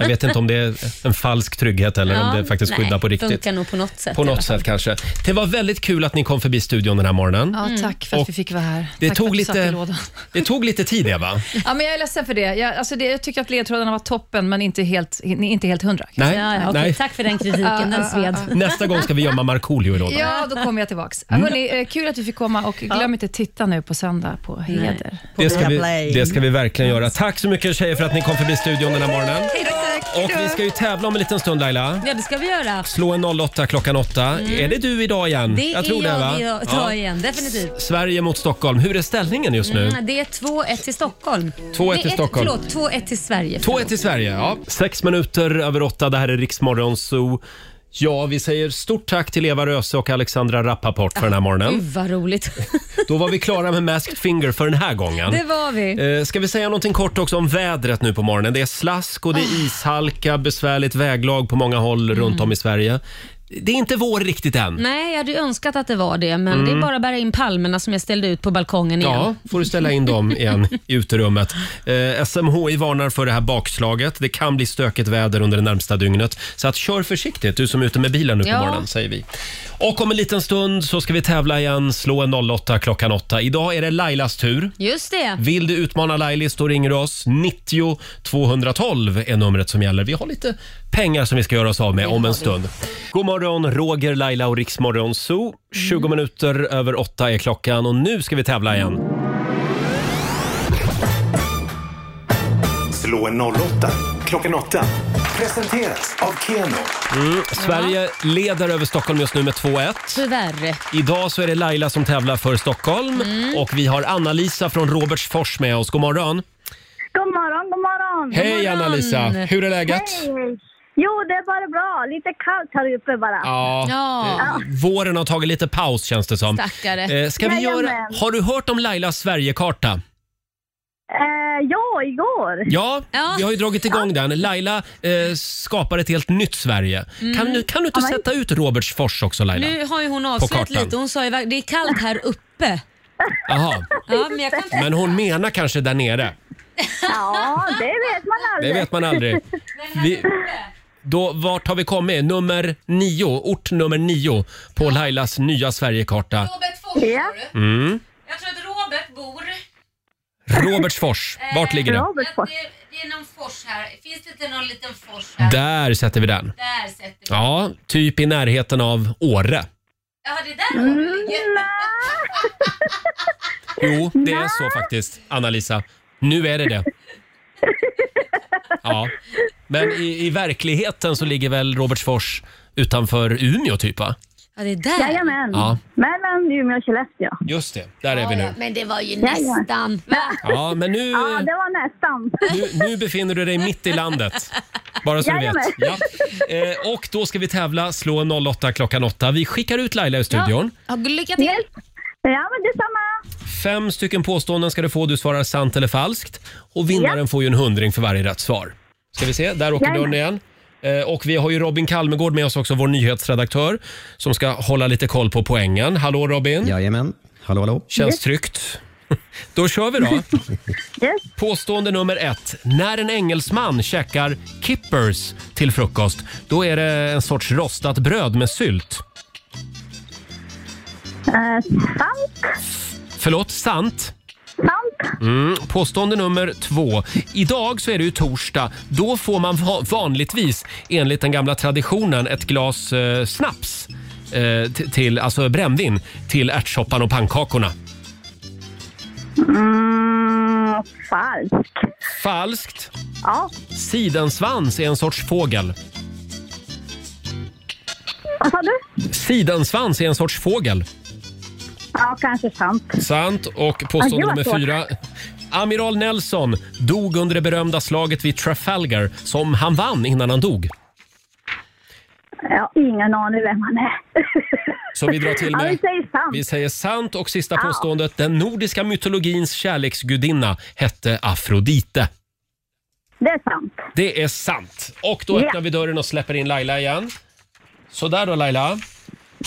S1: Jag vet inte om det är en falsk trygghet eller om det faktiskt skyddar på riktigt.
S3: funkar nog på något sätt.
S1: På
S3: i alla
S1: något sätt kanske. Det var väldigt kul att ni kom förbi studion den här morgonen.
S11: Ja, tack för att
S1: Och
S11: vi fick vara här.
S1: det
S11: tack
S1: tog
S11: för att du
S1: lite-
S11: satt i lådan.
S1: Det tog lite tid, Eva.
S11: Ja, men jag är ledsen för det. Jag, alltså det. jag tycker att ledtrådarna var toppen, men inte helt, inte helt hundra.
S1: Nej, Ja, ja, okej. nej. Tack
S3: för den kritiken.
S11: Ja,
S3: Den
S11: ja,
S3: sved.
S11: ja, ja.
S1: Nästa gång ska vi gömma Markoolio i lådan.
S11: Ja, då kommer jag tillbaks.
S1: Mm.
S11: Hörrni, eh, kul att vi fick komma och glöm inte att titta nu på söndag på Heder.
S1: Det ska, vi, det ska vi verkligen göra. Tack så mycket tjejer för att ni kom förbi studion den här morgonen. Och vi ska ju tävla om en liten stund Laila.
S3: Ja, det ska vi göra.
S1: Slå en 08 klockan 8.
S3: Mm.
S1: Är det du idag igen?
S3: Det är jag
S1: va?
S3: idag
S1: Ja.
S3: igen, definitivt.
S1: Sverige mot Stockholm. Hur är ställningen just nu?
S3: Mm, det är 2-1 till Stockholm.
S1: 2-1
S3: Nej,
S1: till
S3: ett-
S1: Stockholm. Mm.
S3: Förlåt, 2-1 till Sverige.
S1: 2-1 till Sverige, ja. Sex minuter över åtta. Det här är Riksmorgon Zoo. Ja, vi säger stort tack till Eva Röse och Alexandra Rappaport för den här
S3: Gud
S1: morgonen.
S3: vad roligt.
S1: Då var vi klara med Masked Finger för den här gången.
S3: Det var vi.
S1: Eh, Ska vi säga någonting kort också om vädret nu på morgonen? Det är slask och det är ishalka, besvärligt väglag på många håll runt om i Sverige. Det är inte vår riktigt än.
S3: Nej, jag hade ju önskat att det var det, men
S1: Mm.
S3: det är bara att bära in palmerna som jag ställde ut på balkongen
S1: Ja,
S3: igen.
S1: får du ställa in dem igen i uterummet. Eh, SMHI varnar för det här bakslaget. Det kan bli stökigt väder under det närmsta dygnet. Så att kör försiktigt, du som är ute med bilen nu på
S18: Ja.
S1: morgonen, säger vi. Och om en liten stund så ska vi tävla igen. Slå en 08 klockan 8. Idag är det Lailas tur.
S3: Just det.
S1: Vill du utmana Lailis, då ringer du oss. 90 212 är numret som gäller. Vi har lite pengar som vi ska göra oss av med om en stund. God morgon, Roger, Laila och Riksmorgon Zoo. 20 minuter över åtta är klockan och nu ska vi tävla igen.
S16: Slå en 08 klockan 8.
S2: Presenteras av Keno.
S1: Mm, Sverige leder över Stockholm just nu med 2-1.
S3: Tyvärr.
S1: Idag så är det Laila som tävlar för Stockholm
S3: Mm.
S1: och vi har Anna-Lisa från Robertsfors med oss. God morgon!
S16: God morgon, god morgon!
S1: Hej, God morgon. Anna-Lisa. Hur är läget?
S16: Hej. Jo, det är bara bra. Lite kallt här uppe bara.
S1: Ja, eh, Våren har tagit lite paus känns det som.
S16: Stackare.
S1: Eh, Ska vi göra...
S16: Jajamän.
S1: Har du hört om Lailas Sverigekarta?
S16: Eh, ja, igår.
S1: Ja, vi har ju dragit igång den. Laila eh, skapar ett helt nytt Sverige.
S3: Mm.
S1: Kan, du, kan du inte
S3: Ja, men-
S1: sätta ut Robertsfors också Laila?
S3: Nu har ju hon avslöjat
S1: kartan.
S3: lite. Hon sa ju att det är kallt här uppe.
S1: Jaha.
S3: Ja, men jag kan inte...
S1: Men hon menar kanske där nere.
S16: Ja, det vet man
S1: Det
S16: aldrig.
S1: vet man aldrig. Vi, då, vart har vi kommit? Nummer nio, ort nummer nio på Lailas nya Sverigekarta.
S3: Robert Fors, ja.
S1: Mm.
S3: Jag tror att Robert bor...
S1: Robertsfors, vart ligger det?
S3: det? är någon fors här. Finns det inte någon liten fors
S1: Där sätter vi den.
S3: Där sätter vi.
S1: Ja, typ i närheten av Åre.
S3: Ja, det där mm.
S1: Jo, det är så faktiskt, Anna-Lisa. Nu är det det. Ja. Men i, i verkligheten så ligger väl Robertsfors utanför Umeå typ va?
S3: Ja, det är där.
S16: Jajamän.
S1: Ja.
S16: Mellan Umeå och Skellefteå.
S1: Just det, där är vi nu.
S3: Men det var ju
S16: Jajamän.
S3: nästan.
S1: Ja, men nu,
S16: Ja, det var nästan.
S1: nu, nu befinner du dig mitt i landet. Bara så du vet.
S16: Jajamän.
S1: Ja. Eh, och då ska vi tävla, slå en 08 klockan 8. Vi skickar ut Laila i studion.
S3: Ja, lycka till!
S16: Ja, men detsamma.
S1: Fem stycken påståenden ska du få. Du svarar sant eller falskt. Och vinnaren får ju en hundring för varje rätt svar. Ska vi se, där åker
S16: Jajamän.
S1: dörren igen. Eh, Och vi har ju Robin Kalmegård med oss också, vår nyhetsredaktör, som ska hålla lite koll på poängen. Hallå Robin! Jajamän, hallå hallå. Känns
S16: Yes.
S1: tryggt. Då kör vi då. Påstående nummer ett. När en engelsman käkar kippers till frukost, då är det en sorts rostat bröd med sylt.
S16: Eh, sant,
S1: Förlåt, sant?
S16: sant.
S1: Mm. Påstående nummer två. Idag så är det ju torsdag. Då får man va- vanligtvis, enligt den gamla traditionen, ett glas eh, snaps. Eh, t- till, alltså brännvin till ärtsoppan och pannkakorna.
S16: Mm, falskt.
S1: Falskt.
S16: Ja,
S1: Sidensvans är en sorts fågel.
S16: vad sa du?
S1: Sidensvans är en sorts fågel.
S16: Ja, kanske sant.
S1: Sant. Och
S16: Ah, det var
S1: påstående nummer
S16: svårt.
S1: fyra. Amiral Nelson dog under det berömda slaget vid Trafalgar som han vann innan han dog.
S16: Jag har ingen aning vem han är.
S1: Så vi drar till
S16: Ja,
S1: med...
S16: vi säger sant.
S1: Vi säger sant och sista
S16: Ja.
S1: påståendet. Den nordiska mytologins kärleksgudinna hette Afrodite.
S16: Det är sant.
S1: Det är sant. Och då
S16: Ja.
S1: öppnar vi dörren och släpper in Laila igen. Så där då Laila.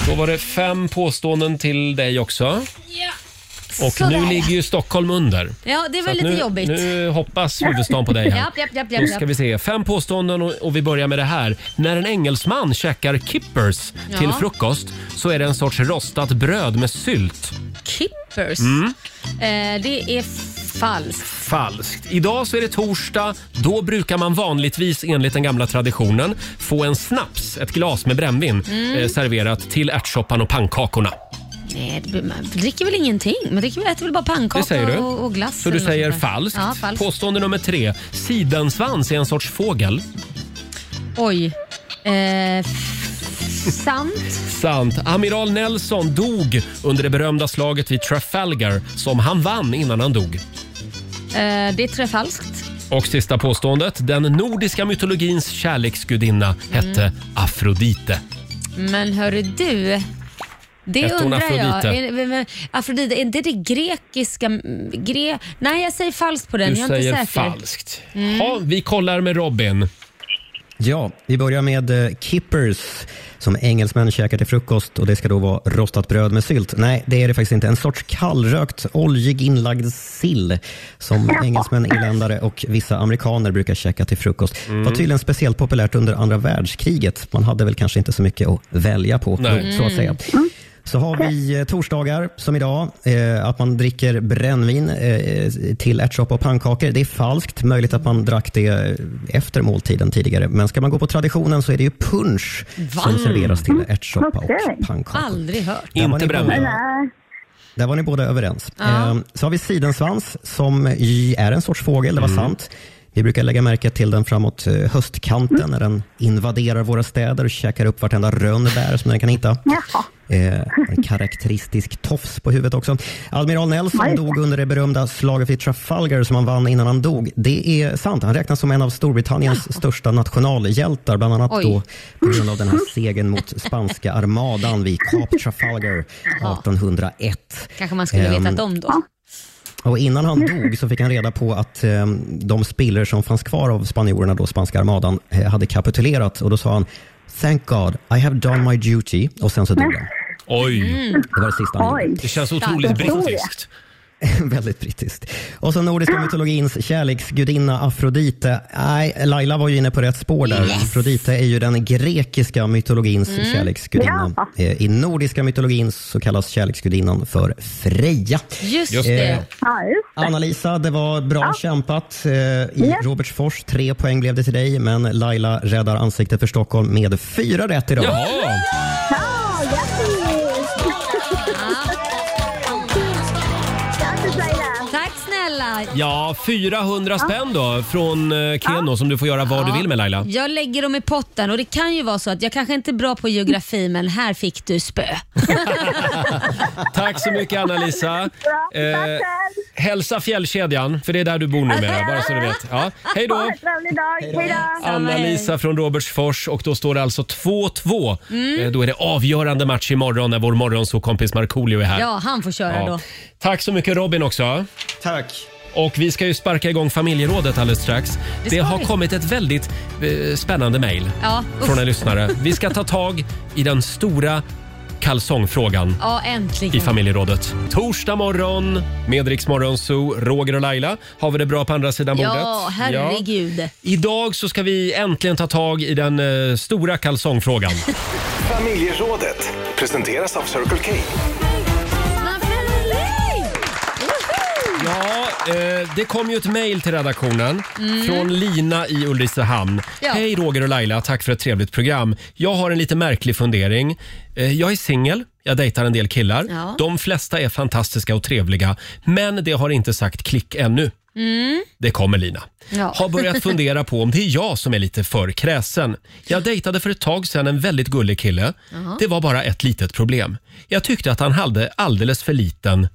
S1: Då var det fem påståenden till dig också.
S3: Ja.
S1: Och
S3: Sådär.
S1: nu ligger ju Stockholm under.
S3: Ja, det var
S1: Så att
S3: lite
S1: nu,
S3: jobbigt.
S1: Nu hoppas huvudstaden på dig här.
S3: Japp, japp, japp, japp,
S1: Då ska
S3: japp.
S1: vi se. Fem påståenden och, och vi börjar med det här. När en engelsman käkar kippers
S3: Ja.
S1: till frukost så är det en sorts rostat bröd med sylt.
S3: Kippers.
S1: Mm.
S3: Eh, det är falskt.
S1: Falskt. Idag så är det torsdag. Då brukar man vanligtvis enligt den gamla traditionen få en snaps, ett glas med brännvin
S3: Mm.
S1: eh, serverat till ärtsoppan och pannkakorna.
S3: Nej, det- man dricker väl ingenting? Man dricker, väl- äter väl bara
S1: Det säger
S3: pannkaka
S1: du.
S3: och, och glass?
S1: Så du
S3: eller något
S1: säger
S3: sånt där.
S1: falskt.
S3: Ja, falskt.
S1: Påstående nummer tre. Sidensvans är en sorts fågel.
S3: Oj. Eh, f- sant.
S1: Sant. Amiral Nelson dog under det berömda slaget vid Trafalgar som han vann innan han dog.
S3: Eh, det tror jag är falskt.
S1: Och sista påståendet. Den nordiska mytologins kärleksgudinna hette Afrodite.
S3: Men hörru du. Det
S1: Hette hon
S3: undrar jag.
S1: Afrodite?
S3: Är, men- men- Afrodite, är inte det grekiska... mm, Gre... Nej, jag säger falskt på den.
S21: Du
S3: jag är
S21: säger
S3: inte säker. Mm.
S1: falskt. Ja, vi kollar med Robin.
S21: Ja, vi börjar med eh, kippers som engelsmän käkar till frukost och det ska då vara rostat bröd med sylt. Nej, det är det faktiskt inte. En sorts kallrökt, oljig inlagd sill som Mm. engelsmän, irländare och vissa amerikaner brukar käka till frukost. var tydligen speciellt populärt under andra världskriget. Man hade väl kanske inte så mycket att välja på,
S22: Nej.
S21: så att säga. Så har vi eh, torsdagar som idag, eh, att man dricker brännvin eh, till ärtsoppa och pannkakor. Det är falskt, möjligt att man drack det eh, efter måltiden tidigare. Men ska man gå på traditionen så är det ju punsch som
S3: Va?
S21: serveras till ärtsoppa och pannkakor.
S3: Aldrig hört.
S21: Där var ni båda-
S16: Nej.
S21: Där var ni båda överens.
S3: Ja.
S21: Eh, Så har vi sidensvans som ju är en sorts fågel, det var sant. Vi brukar lägga märke till den framåt eh, höstkanten när den invaderar våra städer och käkar upp vartenda rönnbär som den kan hitta. Eh, en karaktäristisk tofs på huvudet också. Admiral Nelson
S5: Nej.
S21: dog under det berömda slaget vid Trafalgar som han vann innan han dog. Det är sant. Han räknas som en av Storbritanniens största nationalhjältar, bland annat
S5: Oj.
S21: då på grund av den här segern mot spanska armadan vid Cape Trafalgar 1801.
S3: Kanske man skulle
S21: Ehm,
S3: vetat om då.
S21: och innan han dog så fick han reda på att eh, de spillror som fanns kvar av spanjorerna, då spanska armadan, eh, hade kapitulerat. Och då sa han “Thank God, I have done my duty” och sen så dog han.
S1: Oj.
S21: Mm. Det var det sista han
S1: Oj.
S21: gjorde.
S1: Det känns otroligt Stark historia. brittiskt.
S21: Väldigt brittiskt. Och så nordiska mytologins kärleksgudinna Afrodite. Nej, Laila var ju inne på rätt spår där. Afrodite är ju den grekiska mytologins
S5: Mm.
S21: kärleksgudinna.
S5: Ja.
S21: Eh, I nordiska mytologin så kallas kärleksgudinnan för Freja. Eh,
S5: Ja, just det.
S21: Anna-Lisa, det var bra kämpat eh, i
S5: Ja.
S21: Robertsfors. Tre poäng blev det till dig, men Laila räddar ansiktet för Stockholm med fyra rätt idag.
S5: Jaha.
S16: Ja, grattis! Grattis Laila!
S3: Tack snälla!
S1: Ja, 400 spänn då från eh, Keno som du får göra vad du vill med Laila.
S3: Jag lägger dem i potten och det kan ju vara så att jag kanske inte är bra på geografi men här fick du spö.
S1: Tack så mycket Anna-Lisa. Eh, hälsa Fjällkedjan, för det är där du bor numera, bara så du vet. Ja. Hej
S16: Ha
S1: då!
S16: en trevlig dag! Hej då!
S1: Anna-Lisa från Robertsfors och då står det alltså 2-2.
S3: Mm.
S1: Eh, Då är det avgörande match imorgon när vår morgonsåkompis Markoolio är här.
S3: Ja, han får köra
S1: Ja.
S3: då.
S1: Tack så mycket Robin också.
S21: Tack.
S1: Och vi ska ju sparka igång familjerådet alldeles strax.
S3: Det
S1: Det,
S3: ska
S1: har
S3: vi.
S1: kommit ett väldigt eh, spännande mejl
S3: Ja, usch.
S1: från en lyssnare. Vi ska ta tag i den stora kalsongfrågan
S3: Ja, äntligen.
S1: i familjerådet. Torsdag morgon med Rix Morgon Zoo, Roger och Laila. Har vi det bra på andra sidan bordet?
S3: Ja, herregud.
S1: Idag så ska vi äntligen ta tag i den eh, stora kalsongfrågan.
S2: Familjerådet presenteras av Circle K.
S1: Ja, eh, det kom ju ett mejl till redaktionen
S5: Mm.
S1: från Lina i Ulricehamn.
S5: Ja.
S1: Hej Roger och Laila, tack för ett trevligt program. Jag har en lite märklig fundering. Eh, jag är singel, jag dejtar en del killar.
S3: Ja.
S1: De flesta är fantastiska och trevliga, men det har inte sagt klick ännu.
S3: Mm.
S1: Det kommer Lina.
S3: Ja.
S1: Har börjat fundera på om det är jag som är lite för kräsen. Jag dejtade för ett tag sedan en väldigt gullig kille.
S5: Jaha.
S1: Det var bara ett litet problem. Jag tyckte att han hade alldeles för liten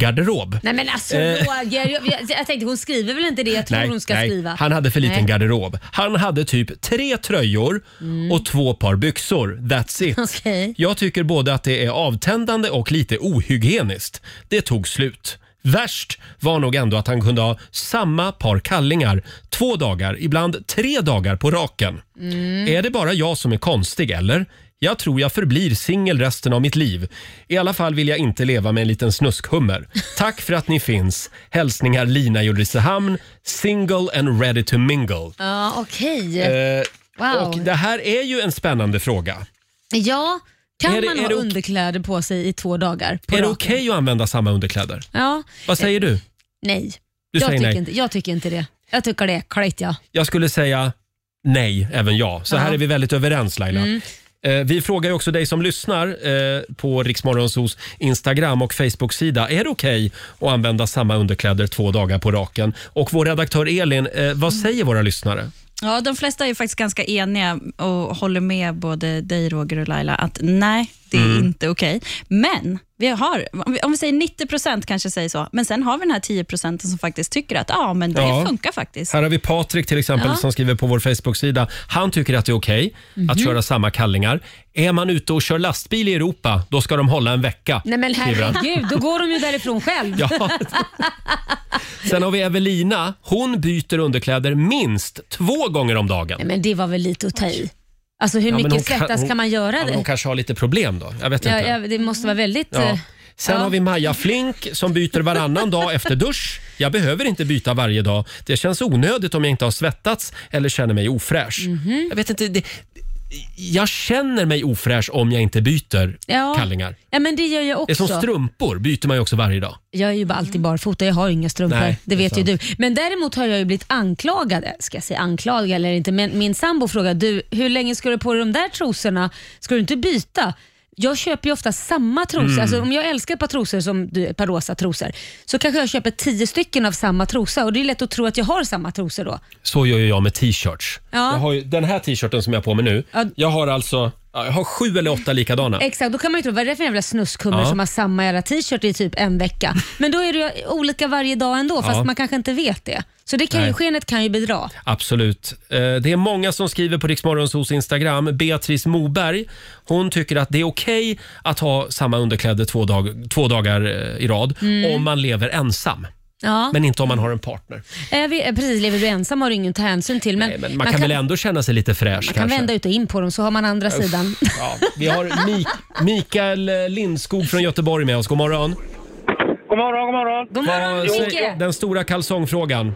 S1: garderob.
S3: Nej men alltså
S1: Eh.
S3: Roger, jag, jag, jag tänkte hon skriver väl inte det jag tror hon ska skriva?
S1: Han hade för liten
S3: Nej.
S1: garderob. Han hade typ tre tröjor
S3: Mm.
S1: och två par byxor. That's it.
S3: Okej.
S1: Jag tycker både att det är avtändande och lite ohygieniskt. Det tog slut. Värst var nog ändå att han kunde ha samma par kallingar två dagar, ibland tre dagar på raken.
S5: Mm.
S1: Är det bara jag som är konstig eller? Jag tror jag förblir singel resten av mitt liv. I alla fall vill jag inte leva med en liten snuskhummer. Tack för att ni finns. Hälsningar Lina i Ulricehamn, single and ready to mingle.
S3: Ja, okej.
S1: Eh,
S3: Wow.
S1: Och det här är ju en spännande fråga.
S3: Ja, kan
S1: Är det-
S3: man
S1: är
S3: ha
S1: det ok-
S3: underkläder på sig i två dagar? På
S1: är det
S3: raken?
S1: okej att använda samma underkläder?
S3: Ja.
S1: Vad säger du?
S3: Nej.
S1: Du
S3: jag,
S1: säger
S3: tycker
S1: nej.
S3: Inte, jag tycker inte det. Jag tycker det är äckligt ja.
S1: Jag skulle säga nej, även jag. Så här
S3: Ja.
S1: är vi väldigt överens Laila.
S3: Mm.
S1: Eh, Vi frågar ju också dig som lyssnar eh, på Riksmorgonsos Instagram och Facebook-sida. Är det okej att använda samma underkläder två dagar på raken? Och vår redaktör Elin, eh, vad säger våra lyssnare?
S4: Ja, de flesta är ju faktiskt ganska eniga och håller med både dig Roger och Laila att nej, det är
S1: Mm.
S4: inte okej. Men vi har, om vi- om vi säger 90 procent kanske säger så, men sen har vi den här 10 procenten som faktiskt tycker att ja, men det
S1: Ja.
S4: funkar faktiskt.
S1: Här har vi Patrik till exempel
S4: Ja.
S1: som skriver på vår Facebook-sida. Han tycker att det är okej att
S4: Mhm.
S1: köra samma kallingar. Är man ute och kör lastbil i Europa, då ska de hålla en vecka.
S3: Nej men
S1: skriver han.
S3: herregud, då går de ju därifrån själv.
S1: Ja. Sen har vi Evelina. Hon byter underkläder minst två gånger om dagen.
S3: Nej, men det var väl lite att ta i. Alltså hur
S1: Ja, men hon
S3: mycket
S1: kan-
S3: svettas
S1: hon-
S3: kan man göra
S1: ja, men
S3: det?
S1: Hon kanske har lite problem då. Jag vet
S3: Ja,
S1: inte.
S3: ja, det måste vara väldigt...
S1: Ja.
S3: eh,
S1: Sen
S3: ja.
S1: har vi Maja Flink som byter varannan dag efter dusch. Jag behöver inte byta varje dag. Det känns onödigt om jag inte har svettats eller känner mig ofräsch.
S3: Mhm.
S1: Jag vet inte. Det, jag känner mig ofräsch om jag inte byter
S3: Ja.
S1: kallingar.
S3: Ja, men det gör jag
S1: Det är
S3: också.
S1: som strumpor byter man ju också varje dag.
S3: Jag är ju bara alltid barfota, jag har inga strumpor.
S1: Mm. Nej,
S3: det
S1: det är
S3: vet ju du.
S1: sant.
S3: Men däremot har jag ju blivit anklagad, ska jag säga anklagad eller inte, men min sambo frågade du, hur länge ska du på dig de där trosorna? Ska du inte byta? jag köper ju ofta samma trosor.
S5: Mm.
S3: Alltså, om jag älskar ett par trosor som du, ett par rosa trosor, så kanske jag köper tio stycken av samma trosa och det är lätt att tro att jag har samma trosor då.
S1: Så gör ju jag med t-shirts.
S3: Ja.
S1: Jag har ju, den här t-shirten som jag har på mig nu,
S3: Ja.
S1: jag har alltså ja, jag har sju eller åtta likadana.
S3: Exakt, då kan man ju tro, vad är det för jävla snuskhummer
S1: Ja.
S3: som har samma jävla t-shirt i typ en vecka? Men då är det ju olika varje dag ändå, fast
S1: Ja.
S3: man kanske inte vet det. Så det kan
S1: Nej.
S3: ju, skenet kan ju bidra.
S1: Absolut. Eh, Det är många som skriver på Riksmorgonsos Instagram. Beatrice Moberg, hon tycker att det är okej att ha samma underkläder två, dag, två dagar eh, i rad
S3: Mm.
S1: om man lever ensam.
S3: Ja.
S1: Men inte om man har en partner.
S3: Är vi, eh, precis, lever du ensam har du ingen att ta hänsyn till. Men,
S1: Men man, kan, väl ändå känna sig lite fräsch
S3: man kan
S1: kanske?
S3: vända ut och in på dem så har man andra
S1: Uff,
S3: sidan.
S1: Ja. Vi har Mik Mikael Lindskog från Göteborg med oss. God morgon.
S22: God morgon, god morgon.
S3: God
S1: Vad säger- Den stora kalsongfrågan.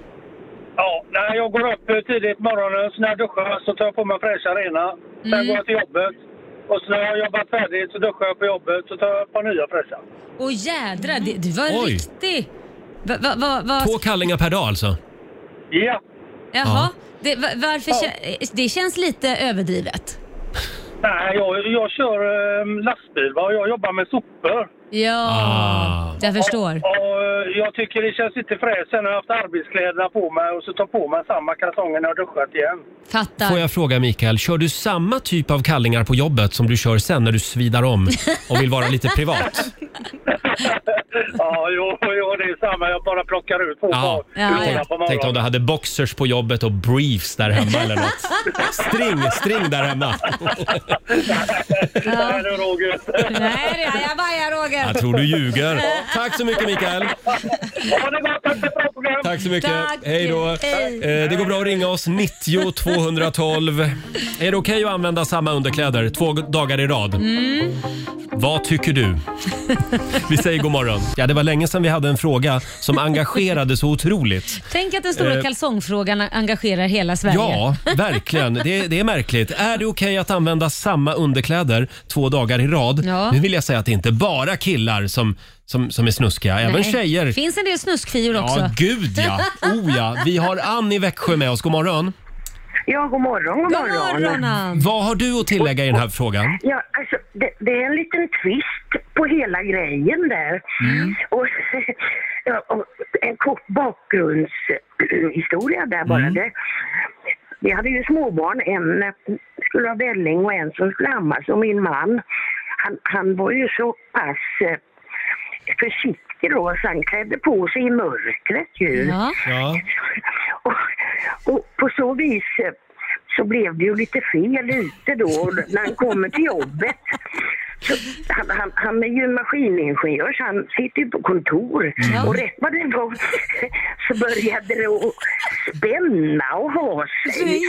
S22: Ja, när jag går upp tidigt på morgonen, så när jag duschar så tar jag på mig fräscha rena. Sen
S3: Mm.
S22: går jag till jobbet. Och så när jag har jobbat färdigt så duschar jag på jobbet så tar jag ett par nya fräscha.
S3: Åh jädrar, det, du var
S1: Oj.
S3: riktig. Va, va, va, va,
S1: Två kallingar per dag alltså?
S22: Ja.
S3: Jaha, det, va, varför, kä- eh, det känns lite överdrivet.
S22: Nej, jag, jag kör eh, lastbil va? och jag jobbar med sopor.
S3: Ja,
S1: Ah.
S3: jag förstår.
S22: Och, och, eh, jag tycker det känns lite fräscht sen när jag har haft arbetskläderna på mig och så tar på mig samma kalsonger när jag har duschat igen.
S3: Fattar.
S1: Får jag fråga Mikael, kör du samma typ av kallingar på jobbet som du kör sen när du svidar om och vill vara lite privat?
S22: ja, jo, jo, det är samma. Jag bara plockar ut två par.
S1: Ja. ja,
S22: Ur lådan på
S1: Tänk om
S22: morgonen.
S1: du hade boxers på jobbet och briefs där hemma eller något. String, string där hemma.
S22: Nej, du Roger.
S3: Nej, det är jag bajar Roger.
S1: Jag tror du ljuger. Tack så mycket Mikael. Tack så mycket.
S3: Tack.
S1: Hej då.
S3: Hej.
S1: Eh, Det går bra att ringa oss 90 212. Är det okej att använda samma underkläder två dagar i rad?
S3: Mm.
S1: Vad tycker du? Vi säger god morgon. Ja, det var länge sedan vi hade en fråga som engagerade så otroligt.
S3: Tänk att den stora
S1: Eh.
S3: kalsongfrågan engagerar hela Sverige.
S1: Ja, verkligen. Det, det är märkligt. Är det okej att använda samma underkläder två dagar i rad?
S3: Ja.
S1: Nu vill jag säga att det är inte bara killar som, som, som är snuskiga, även
S3: Nej.
S1: tjejer.
S3: finns en del snuskfior också.
S1: Ja, gud ja. Oh, ja. Vi har Ann i Växjö med oss. God morgon.
S23: Ja, god morgon, god morgon.
S1: Vad har du att tillägga i den här frågan?
S23: Ja, alltså, det, det är en liten twist på hela grejen där. Och, ja, och en kort bakgrundshistoria där bara.
S24: Mm.
S23: Det, vi hade ju småbarn, en eh, skulle ha välling och en som skulle ammas. Och min man, han, han var ju så pass eh, försiktig då så han klädde på sig i mörkret ju.
S1: Ja.
S23: Och på så vis eh, så blev det ju lite fel ute då när han kommer till jobbet. Så han, han, han är ju maskiningenjör så han sitter ju på kontor
S24: Ja.
S23: och rätt vad det var så började det att spänna och ha sig.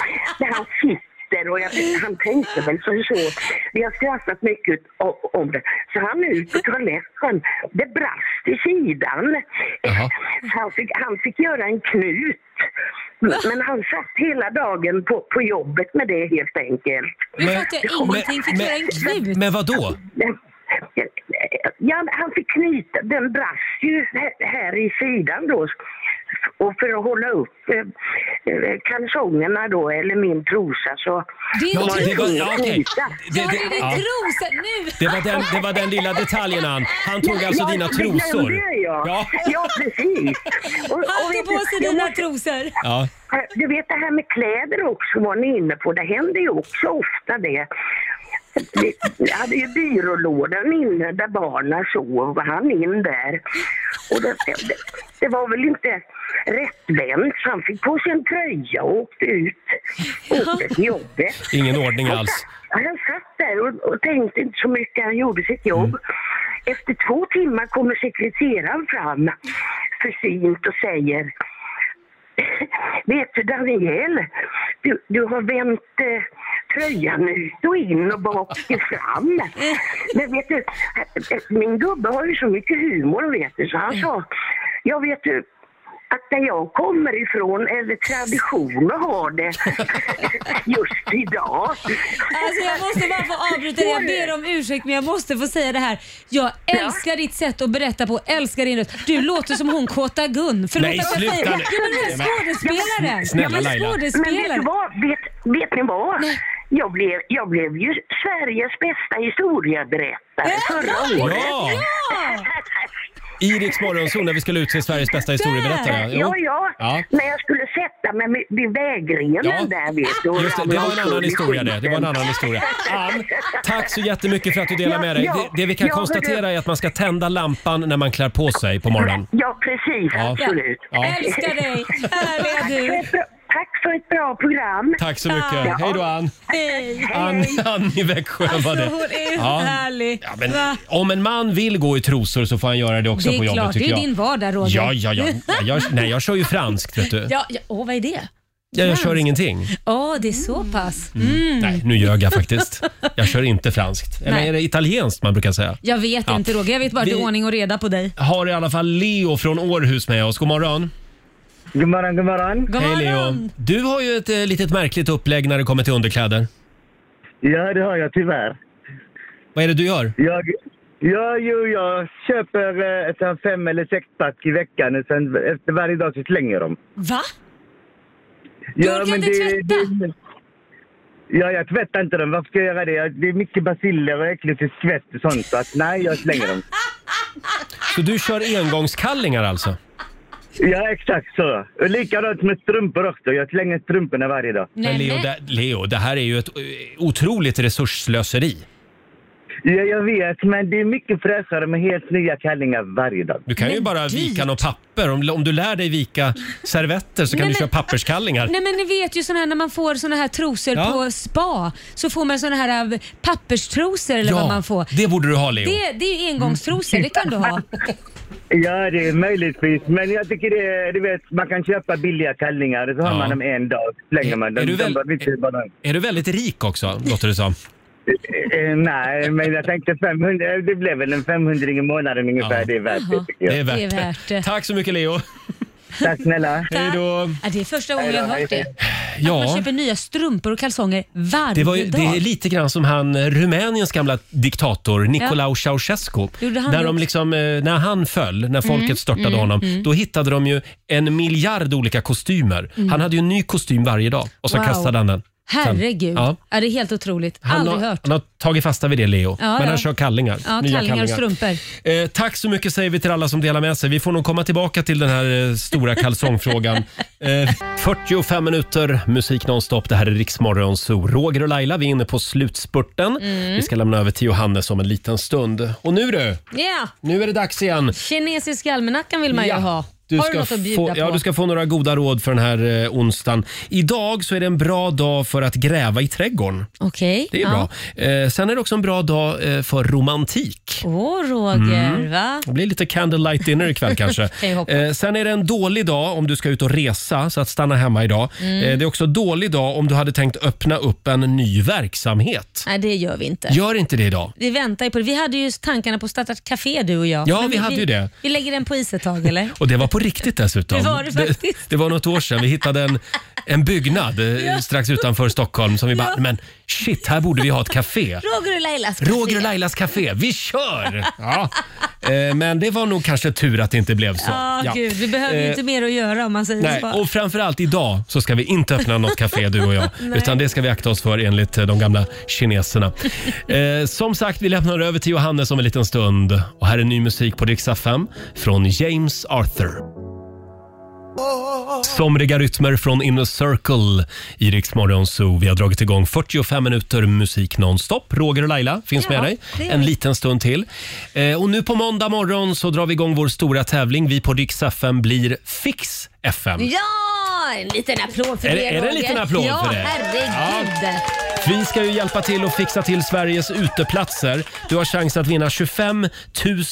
S23: När han sitter och jag, han tänkte väl som så. Vi har skrattat mycket o- om det. Så han är ut på toaletten. Det brast i sidan. Så han fick, han fick göra en knut. Men han satt hela dagen på, på jobbet med det helt enkelt.
S3: Nu fattar jag ingenting. Fick göra en knut?
S1: Men vad då?
S23: Ja, han fick knyta, den brast ju här, här i sidan då. Och för att hålla upp eh, eh, kalsongerna då, eller min trosa så...
S1: Din
S23: så var
S1: trosa?
S23: tvungen
S1: Ja,
S23: att
S1: okej.
S23: knyta.
S1: Det- det- Var det din ja.
S3: trosa nu?
S1: Det var den, det var den lilla detaljen Ann. Han tog
S23: Ja,
S1: alltså
S23: ja,
S1: dina
S23: det
S1: trosor.
S23: glömde jag. Ja, precis. Och,
S3: Han tog
S23: vet
S3: på
S23: du,
S3: sig
S23: jag
S3: dina
S23: måste-
S3: trosor.
S1: Ja.
S23: Du vet det här med kläder också var ni inne på. Det händer ju också ofta det. Vi- Vi hade ju byrålådan inne där barnen sov och han in där. Och det, det, det var väl inte rättvänt så han fick på sig en tröja och åkte ut. Åkte till jobbet.
S1: Ingen ordning alls.
S23: Han satt där och, och tänkte inte så mycket, han gjorde sitt jobb.
S10: Mm.
S23: Efter två timmar kommer sekreteraren fram försynt och säger Vet du Daniel, du, du har vänt eh, tröjan ut och in och bak och fram. Men vet du, eh, min gubbe har ju så mycket humor vet du, så han sa, jag vet du, att där jag kommer ifrån är det tradition att ha det just idag.
S3: Alltså jag måste bara få avbryta det. Jag ber om ursäkt men jag måste få säga det här. Jag älskar ditt sätt att berätta på, älskar din röst. Du låter som hon Kåta Gun. Förlåt att
S23: Nej,
S3: jag
S23: sluta
S3: säger det.
S23: nu.
S3: Jo men du är skådespelare.
S23: Ja, men-
S3: Ja, men skådespelare.
S23: Men vet du vad? Vet, vet ni vad? Jag blev, jag blev ju Sveriges bästa historieberättare förra året.
S1: Ja! I Riks Morgonzoo när vi skulle utse Sveriges bästa historieberättare. Jo.
S23: Ja, ja.
S1: Ja.
S23: När jag skulle sätta mig vid vägrenen
S1: Ja.
S23: där vet du. och
S1: Just det, det
S23: ramla
S1: var en annan
S23: omkull i
S1: historia det. Det var en
S23: skiten.
S1: annan historia. Ann, tack så jättemycket för att du delade med dig.
S23: Ja,
S1: Det,
S23: ja.
S1: det vi kan
S23: Ja, hörru.
S1: konstatera är att man ska tända lampan när man klär på sig på morgonen.
S23: Ja, precis.
S1: Ja.
S23: Absolut.
S1: Ja.
S23: Älskar dig. Här är du. Tack för ett bra program.
S1: Tack så mycket. Hej då Ann.
S23: Hej.
S1: Ann, Ann i Växjö
S3: Alltså,
S1: var det.
S3: härlig.
S1: Ja, men, om en man vill gå i trosor så får han göra det också
S3: det
S1: på
S3: är
S1: jobbet
S3: klart, det
S1: tycker
S3: är ju
S1: jag.
S3: din vardag Roger.
S1: Ja, ja, ja. Nej, Jag, nej, jag kör ju franskt vet du.
S3: ja, Mm. ja. Åh, vad är det?
S1: Jag, jag kör ingenting.
S3: Åh, det är så pass.
S1: Mm.
S3: Mm.
S1: Nej, nu ljög jag faktiskt. Jag kör inte franskt. Eller
S3: Nej.
S1: är det italienskt man brukar säga?
S3: Jag vet
S1: Ja.
S3: inte Roger, jag vet bara att det
S1: Vi-
S3: är ordning och reda på dig.
S1: Har i alla fall Leo från Århus med oss. God morgon. God morgon, god morgon.
S3: God
S1: Hej
S3: morgon.
S1: Leo. Du har ju ett eh, litet märkligt upplägg när det kommer till underkläder.
S5: Ja, det har jag tyvärr.
S1: Vad är det du gör?
S5: Jag, ja, jo, jag köper eh, ett sånt fem eller sexpack i veckan och sen efter varje dag så slänger jag dem.
S3: Va?
S5: Du ja, orkar inte tvätta? Det, ja, jag tvättar inte dem. Varför ska jag göra det? Jag- Det är mycket basiller och äckligt och svett och sånt. Så att, nej, jag slänger dem.
S1: Så du kör engångskallingar alltså?
S5: Ja, exakt så. Och likadant med strumpor också. Jag slänger strumporna varje dag.
S1: Men Leo, det, Leo, det här är ju ett eh, otroligt resursslöseri.
S5: Ja, jag vet, men det är mycket fräschare med helt nya kallingar varje dag.
S1: Du kan ju bara vika något papper. Om, om du lär dig vika servetter så kan
S3: Nej,
S1: du
S3: men-
S1: köra papperskallingar.
S3: Nej men ni vet ju såna här, när man får såna här trosor
S1: Ja.
S3: på spa så får man såna här av papperstrosor eller vad man får.
S1: det borde du ha Leo.
S3: Det, det är ju engångstrosor, det kan du
S1: Mm.
S3: ha.
S5: Ja, det är möjligtvis. Men jag tycker det är, du vet, man kan köpa billiga kallingar och så har
S1: Ja.
S5: man dem en dag. Slänger man dem.
S1: är du väl-
S5: de bara, visst, det är bara-
S1: Är du väldigt rik också, låter det som?
S5: Eh, Nej, men jag tänkte 500. Det blev väl en 500 i månaden ungefär. Det är värt det tycker jag.
S1: Det är värt det. Tack så mycket Leo.
S5: Tack snälla.
S1: Hej då.
S3: Ja, det är första gången jag har hört det. Att man
S1: Ja,
S3: köper nya strumpor och kalsonger varje
S1: det, var ju,
S3: dag.
S1: det är liksom- lite grann som han eh, Rumäniens gamla diktator Nicolae Ceausescu.
S3: Gjorde han
S1: När,
S3: det
S1: de
S3: också?
S1: liksom, eh, när han föll, när folket
S3: Mm,
S1: störtade
S3: mm,
S1: honom,
S3: mm.
S1: då hittade de ju en miljard olika kostymer.
S3: Mm.
S1: Han hade ju en ny kostym varje dag och så
S3: Wow.
S1: kastade han den. Sen-
S3: Herregud.
S1: Ja.
S3: Är det är helt otroligt.
S1: Han
S3: Aldrig
S1: har,
S3: hört.
S1: han har tagit fasta vid det, Leo.
S3: Ja,
S1: men
S3: ja.
S1: han kör kallingar.
S3: Ja,
S1: nya
S3: kallingar och
S1: kallingar.
S3: strumpor.
S1: Eh, tack så mycket säger vi till alla som delar med sig. Vi får nog komma tillbaka till den här eh, stora kalsongfrågan. Eh, 45 minuter musik nonstop. Det här är Riksmorgon Zoo. Roger och Laila, vi är inne på slutspurten.
S3: Mm.
S1: Vi ska lämna över till Johannes om en liten stund. Och nu du!
S3: Ja,
S1: Nu är det dags igen.
S3: kinesiska almanackan vill man
S1: Ja,
S3: ju ha. har du något att bjuda
S1: få,
S3: på?
S1: Ja, du ska få några goda råd för den här eh, onsdagen. Idag så är det en bra dag för att gräva i trädgården.
S3: Okej.
S1: Det är
S3: ja.
S1: bra. Eh, sen är det också en bra dag eh, för romantik.
S3: Åh, Roger.
S1: Mm.
S3: Va?
S1: Det blir lite candlelight dinner ikväll kanske.
S3: Kan jag hoppas.
S1: Eh, sen är det en dålig dag om du ska ut och resa, så att stanna hemma idag.
S3: Mm.
S1: Eh, det är också en dålig dag om du hade tänkt öppna upp en ny verksamhet.
S3: Nej, det gör vi inte.
S1: Gör inte det idag.
S3: Vi väntar ju på det. Vi hade ju tankarna på att starta ett café du och jag.
S1: Ja,
S3: Men
S1: vi hade ju det.
S3: Vi lägger den på is ett tag eller?
S1: Och det var på riktigt dessutom.
S3: Det var det
S1: det,
S3: faktiskt.
S1: var något år sedan. Vi hittade en, en byggnad eh, strax utanför Stockholm som vi bara, men shit, här borde vi ha ett café.
S3: Roger och Lailas café.
S1: Roger och Lailas café, vi kör! Ja. Eh, Men det var nog kanske tur att det inte blev så.
S3: Ja, gud. Vi behöver ju
S1: Eh,
S3: inte mer att göra om man säger
S1: Nej,
S3: så.
S1: och framförallt idag så ska vi inte öppna något café du och jag.
S3: Nej.
S1: utan det ska vi akta oss för enligt eh, de gamla kineserna. Eh, som sagt, vi lämnar över till Johannes om en liten stund. Och här är ny musik på Riksa 5 från James Arthur. Somriga rytmer från Inner Circle i Rix Morgon Zoo. Vi har dragit igång 45 minuter musik nonstop. Roger och Laila finns
S18: Ja,
S1: med dig
S18: det gör
S1: en
S18: vi.
S1: liten stund till. Eh, och nu på måndag morgon så drar vi igång vår stora tävling. Vi på Rix FM blir Fix FM.
S3: Ja, en liten applåd för
S1: Är det-
S3: det
S1: är det en
S3: Roger.
S1: liten applåd
S3: ja,
S1: för det?
S3: Herregud.
S1: Vi ska ju hjälpa till att fixa till Sveriges uteplatser. Du har chans att vinna 25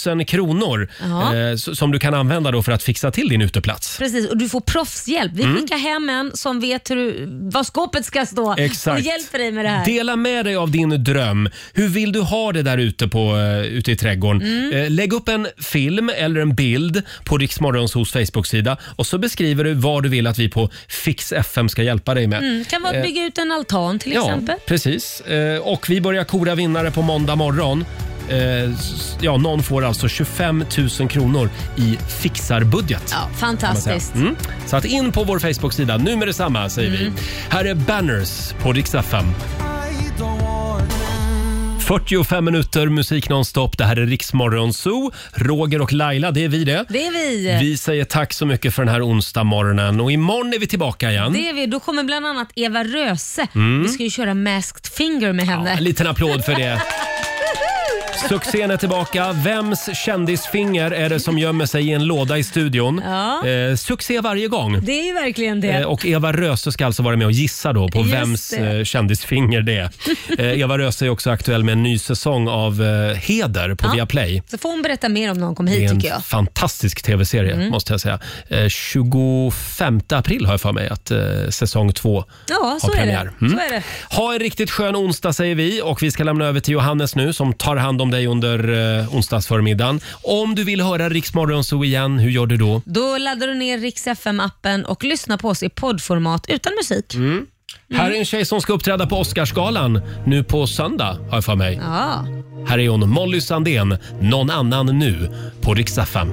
S1: 000 kronor
S3: Ja.
S1: eh, s- som du kan använda då för att fixa till din uteplats.
S3: Precis, och du får proffshjälp. Vi
S1: Mm.
S3: skickar hem en som vet hur, du- var skåpet ska stå
S1: Exakt.
S3: och hjälper dig med det här.
S1: Dela med dig av din dröm. Hur vill du ha det där ute, på, eh, ute i trädgården?
S3: Mm.
S1: Eh, Lägg upp en film eller en bild på Riksmorgons hos Facebook-sida och så beskriver du vad du vill att vi på Fix FM ska hjälpa dig med.
S3: Mm, kan vara att
S1: Eh,
S3: bygga ut en altan till exempel.
S1: Ja, precis. Eh, Och vi börjar kora vinnare på måndag morgon. Eh, s- Ja, någon får alltså 25 000 kronor i fixarbudget. Ja,
S3: fantastiskt.
S1: Mm. Så
S3: Mm.
S1: att in på vår Facebook-sida nu med detsamma, säger vi. Här är Banners på Rix FM. 45 minuter musik nonstop. Det här är Riksmorgon Zoo. Roger och Laila, det är vi det.
S3: Det är vi.
S1: Vi säger tack så mycket för den här onsdag morgonen och imorgon är vi tillbaka igen.
S3: Det är vi. Då kommer bland annat Eva Röse.
S1: Mm.
S3: Vi ska ju köra Masked Finger med henne.
S1: En liten applåd för det. Succén är tillbaka. Vems kändisfinger är det som gömmer sig i en låda i studion?
S3: Ja.
S1: Eh, succé varje gång.
S3: Det är ju verkligen det.
S1: Eh, Och Eva Röse ska alltså vara med och gissa då på
S3: Just
S1: vems
S3: det.
S1: eh, kändisfinger det är. Eh, Eva Röse är också aktuell med en ny säsong av eh, Heder på
S3: Ja.
S1: Viaplay.
S3: Så får hon berätta mer om när hon kommer
S1: Det
S3: hit
S1: är en
S3: tycker jag.
S1: fantastisk tv-serie
S3: Mm.
S1: måste jag säga. Eh, 25 april har jag för mig att eh, säsong två
S3: Ja,
S1: har
S3: så är,
S1: premiär.
S3: det.
S1: Mm.
S3: så är det.
S1: Ha en riktigt skön onsdag säger vi och vi ska lämna över till Johannes nu som tar hand om dig under eh, onsdagsförmiddagen. Om du vill höra Riksmorgon så igen, hur gör du då?
S3: Då laddar du ner Rix FM-appen och lyssnar på oss i poddformat utan musik.
S1: Mm. Här är en tjej som ska uppträda på Oscarsgalan nu på söndag har jag för mig.
S3: Ja.
S1: Här är hon, Molly Sandén, Någon annan nu på Riksdag fem.